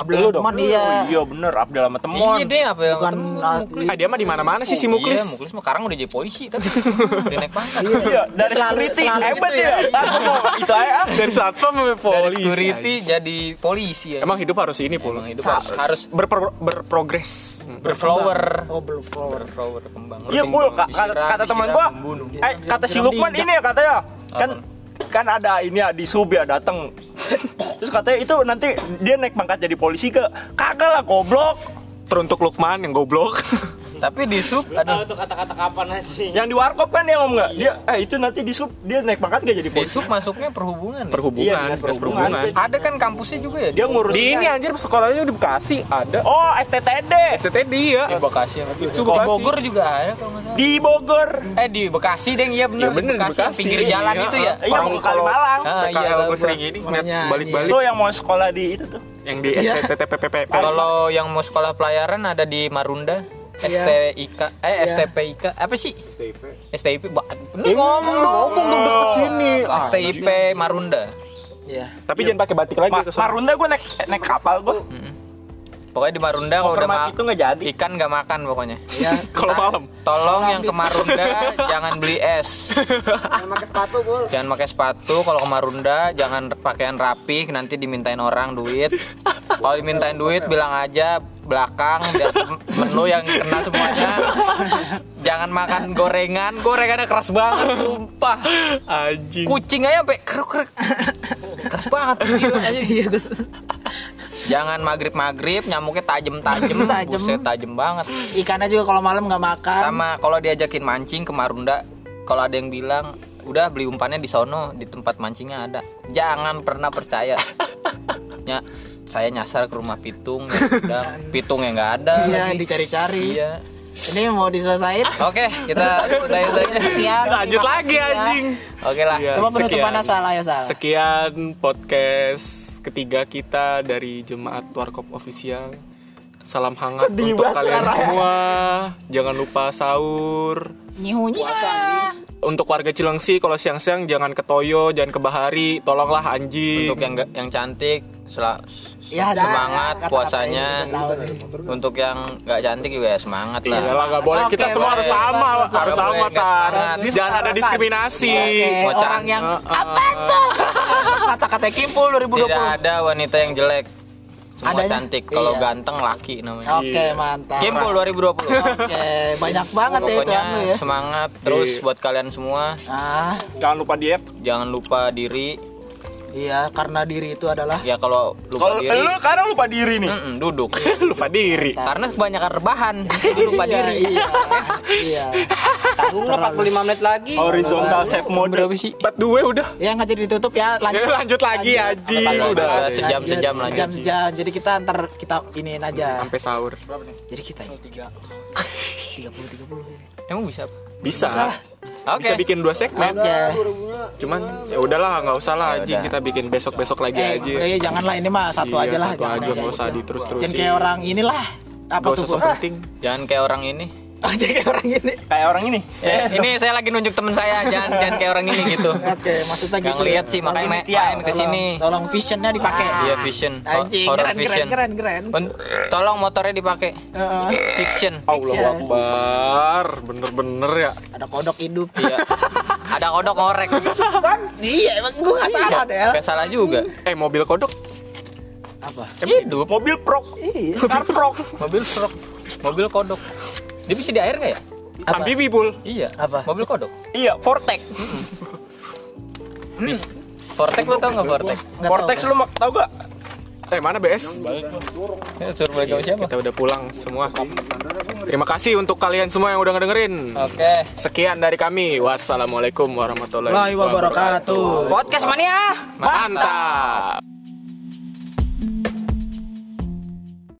D: Abdul dong.
C: Rahman, iya.
D: Iya bener Abdul sama Temon.
A: iya deh apa yang
C: Bukan,
A: ketemu
C: ah,
A: muklis
B: Ah, dia mah di mana-mana sih si
A: Iya,
B: Muklis.
A: muklis mah sekarang udah jadi polisi tapi udah naik pangkat
D: Iya, dari security
B: gitu
D: hebat ya. Aku mau itu aja. ah.
B: Dari satpam sampai
A: dari
B: polisi.
A: security jadi polisi ya
B: Emang hidup harus ini pul.
A: hidup harus, Hmm. harus
B: Berpro- berprogres.
A: berflower oh berflower berflower kembang
D: Iya
A: Berkembang,
D: pul ka- kata,
A: disiram,
D: kata teman
A: disiram,
D: gua.
A: membunuh.
D: Eh kata si Lukman ini ya katanya kan kan ada ini ya di sub ya datang. (laughs) Terus katanya itu nanti dia naik pangkat jadi polisi ke kagak lah goblok.
B: Teruntuk Lukman yang goblok. (laughs)
A: tapi di sub
I: Tahu
A: ada
I: tuh kata-kata kapan anjing.
D: Yang di warkop kan dia ngomong nggak? Dia eh itu nanti di sub dia naik pangkat gak jadi
A: di
D: polisi.
A: sub masuknya perhubungan ya?
B: Perhubungan,
D: Iya,
B: dinas
D: perhubungan.
B: perhubungan.
A: ada kan kampusnya juga ya
D: Dia ngurus
B: Di ini anjir sekolahnya di Bekasi ada.
D: Oh, STTD
B: STTD ya.
A: di Bekasi apa?
B: Itu
A: di
B: Bekasi.
A: Bogor juga ada kalau nggak salah
D: di Bogor.
A: eh di Bekasi deh iya bener,
B: Iya bener,
A: Bekasi,
B: di
A: yang
B: Bekasi.
A: pinggir jalan
B: Iya,
A: itu ya
D: Iya,
B: Orang
D: mau
B: kalau-
D: Kalimalang.
A: Ah, iya,
B: kalau
A: tahu
B: gue
A: gua. iya.
B: sering ini ngeliat
C: Makanya,
B: balik-balik
D: Lo yang mau sekolah di itu tuh.
B: yang di STTPPP.
A: Kalau yang mau sekolah pelayaran ada di Marunda, STIK, eh STPIK, apa sih? STIP. Ba- Lu ngomong dong.
B: Ngomong dong deket sini.
A: STIP Marunda. Iya.
B: Tapi jangan pakai batik lagi
D: Ma
B: ke sana. Hmm.
D: Marunda gue naik eh, naik kapal gue.
A: Pokoknya di Marunda kalau udah
D: Permat
A: ma-
D: itu nggak jadi.
A: ikan nggak makan pokoknya.
C: Iya.
B: Kalau
D: (laughs)
B: malam.
A: Tolong yang ke Marunda jangan beli es.
C: pakai sepatu bul
A: Jangan pakai sepatu kalau ke Marunda, jangan pakaian rapi nanti dimintain orang duit. Kalau dimintain duit bilang aja belakang biar (laughs) tem- menu yang kena semuanya. Jangan makan gorengan, gorengannya keras banget sumpah.
B: Anjing.
A: Kucing aja sampai keruk-keruk. Keras banget. gila aja.
C: Iya,
A: Jangan maghrib-maghrib, nyamuknya tajem-tajem,
C: Tajem.
A: buset tajem banget.
C: ikannya juga kalau malam nggak makan
A: Sama kalau diajakin mancing ke Marunda, kalau ada yang bilang udah beli umpannya di sono di tempat mancingnya ada. Jangan pernah percaya. ya, saya nyasar ke rumah pitung, ya udah pitung yang nggak ada.
C: iya
A: lagi.
C: dicari-cari
A: Iya.
C: ini mau diselesain
A: Oke, kita udah udah.
C: sekian
B: Ah, iya, Lanjut
C: (laughs) Terima
B: lagi
C: kasih ya.
B: anjing.
A: Oke lah.
B: Iya,
C: Coba penutupan
B: sekian.
C: asal ya Sal.
B: Sekian podcast ketiga kita dari Jemaat Warkop Official. Salam hangat untuk kalian semua. Jangan lupa sahur. Untuk warga Cilengsi kalau siang-siang jangan ke Toyo, jangan ke Bahari, tolonglah anjing.
A: Untuk yang nggak- yang cantik sel-
C: Ya, dah.
A: semangat
C: Kata-kata
A: puasanya.
C: ini tahu nih.
A: Untuk yang nggak cantik juga ya semangat lah.
B: Iyalah nggak boleh kita
C: Oke,
B: semua
A: boleh.
B: harus sama,
C: Boleh,
B: harus
A: boleh,
B: sama
A: nggak
B: tar.
A: semangat.
B: Jangan ada diskriminasi.
C: Oke,
A: Mau
C: orang
A: can-
C: yang
B: Ah,
C: apa tuh? (laughs) Kata-kata Kimpul 2020.
A: Tidak ada wanita yang jelek. Semua
C: Adanya?
A: cantik. Kalau
C: Iya. Oh,
A: ganteng laki namanya.
C: Oke,
B: Iya.
C: mantap.
A: Kimpul 2020.
C: Oke, banyak banget ya itu
A: Pokoknya
C: anu ya.
A: semangat terus buat kalian semua.
C: Ah,
D: Jangan lupa diet.
A: Jangan lupa diri.
C: iya karena diri itu
B: Iya,
C: adalah
A: Ya kalau lupa
D: Kalau
A: diri,
D: lu sekarang lupa diri nih.
A: mm-mm, duduk.
B: (laughs) Lupa diri.
A: Karena kebanyakan rebahan, jadi lupa diri.
C: Iya, Iya. iya.
H: Tanggung lah 45 menit lagi
D: Horizontal safe mode.
A: Berapa sih?
B: Part 2 udah.
C: Ya nggak jadi ditutup ya.
B: Ya,
C: Lanjut.
B: (laughs) lanjut lagi anjing.
A: Lanjut,
B: Udah
A: udah sejam sejam lanjut.
C: Sejam-sejam. Jadi kita antar kita iniin aja.
B: sampai sahur.
C: Jadi kita ini. 30 30 ini.
A: Emang bisa?
B: Bisa.
A: Oke.
B: Bisa bikin dua segmen.
C: Oke.
B: Cuman ya udahlah nggak usah lah anjing
A: udah.
B: kita bikin besok-besok lagi
C: Eh,
B: aja.
C: eh, janganlah ini mah satu
B: Iya,
C: aja lah. gitu.
B: Satu aja nggak usah diterus-terusin.
C: Jangan kayak orang Ah. inilah. Apa
B: Nggak
C: tuh?
B: usah
C: Bu?
B: sok penting.
A: Jangan kayak orang ini.
C: (laughs) Oh, jadi kayak orang ini.
D: Kayak orang ini.
A: Eh, ini saya lagi nunjuk temen saya, jangan jangan kayak orang ini gitu.
C: Oke, maksudnya
A: Gak
C: gitu.
A: lihat sih, makanya main, main ke sini.
C: Tolong, tolong visionnya dipakai.
A: Iya vision, ho-
C: Anjing,
A: horror
C: keren,
A: vision.
C: keren, keren, keren.
A: Un- Tolong motornya dipakai. Fiction.
B: Allah
C: Iya.
B: Akbar. Bener-bener ya.
C: Ada kodok hidup. (laughs)
A: Iya. Ada kodok ngorek.
C: iya, emang gue gak salah deh.
A: Kayak salah juga.
B: Eh mobil kodok.
C: Apa?
A: Hidup.
D: Mobil prok. Car prok.
A: Mobil truk, mobil kodok. Dia bisa di air nggak ya?
B: Ambibi pul.
A: Iya.
C: Apa?
A: Mobil kodok.
D: Iya, Vortex.
A: Bis- Vortex lo tau nggak Vortex?
D: Vortex lu mak- tau gak?
B: Eh mana
A: Eh,
B: BS?
A: Suruh balik sama siapa?
B: Kita udah pulang semua. Terima kasih untuk kalian semua yang udah ngedengerin.
C: Ah.
A: Oke.
B: Sekian dari kami. Wassalamualaikum warahmatullahi
C: Lai
B: wabarakatuh.
C: wabarakatuh.
H: Podcast mania
B: Mantap.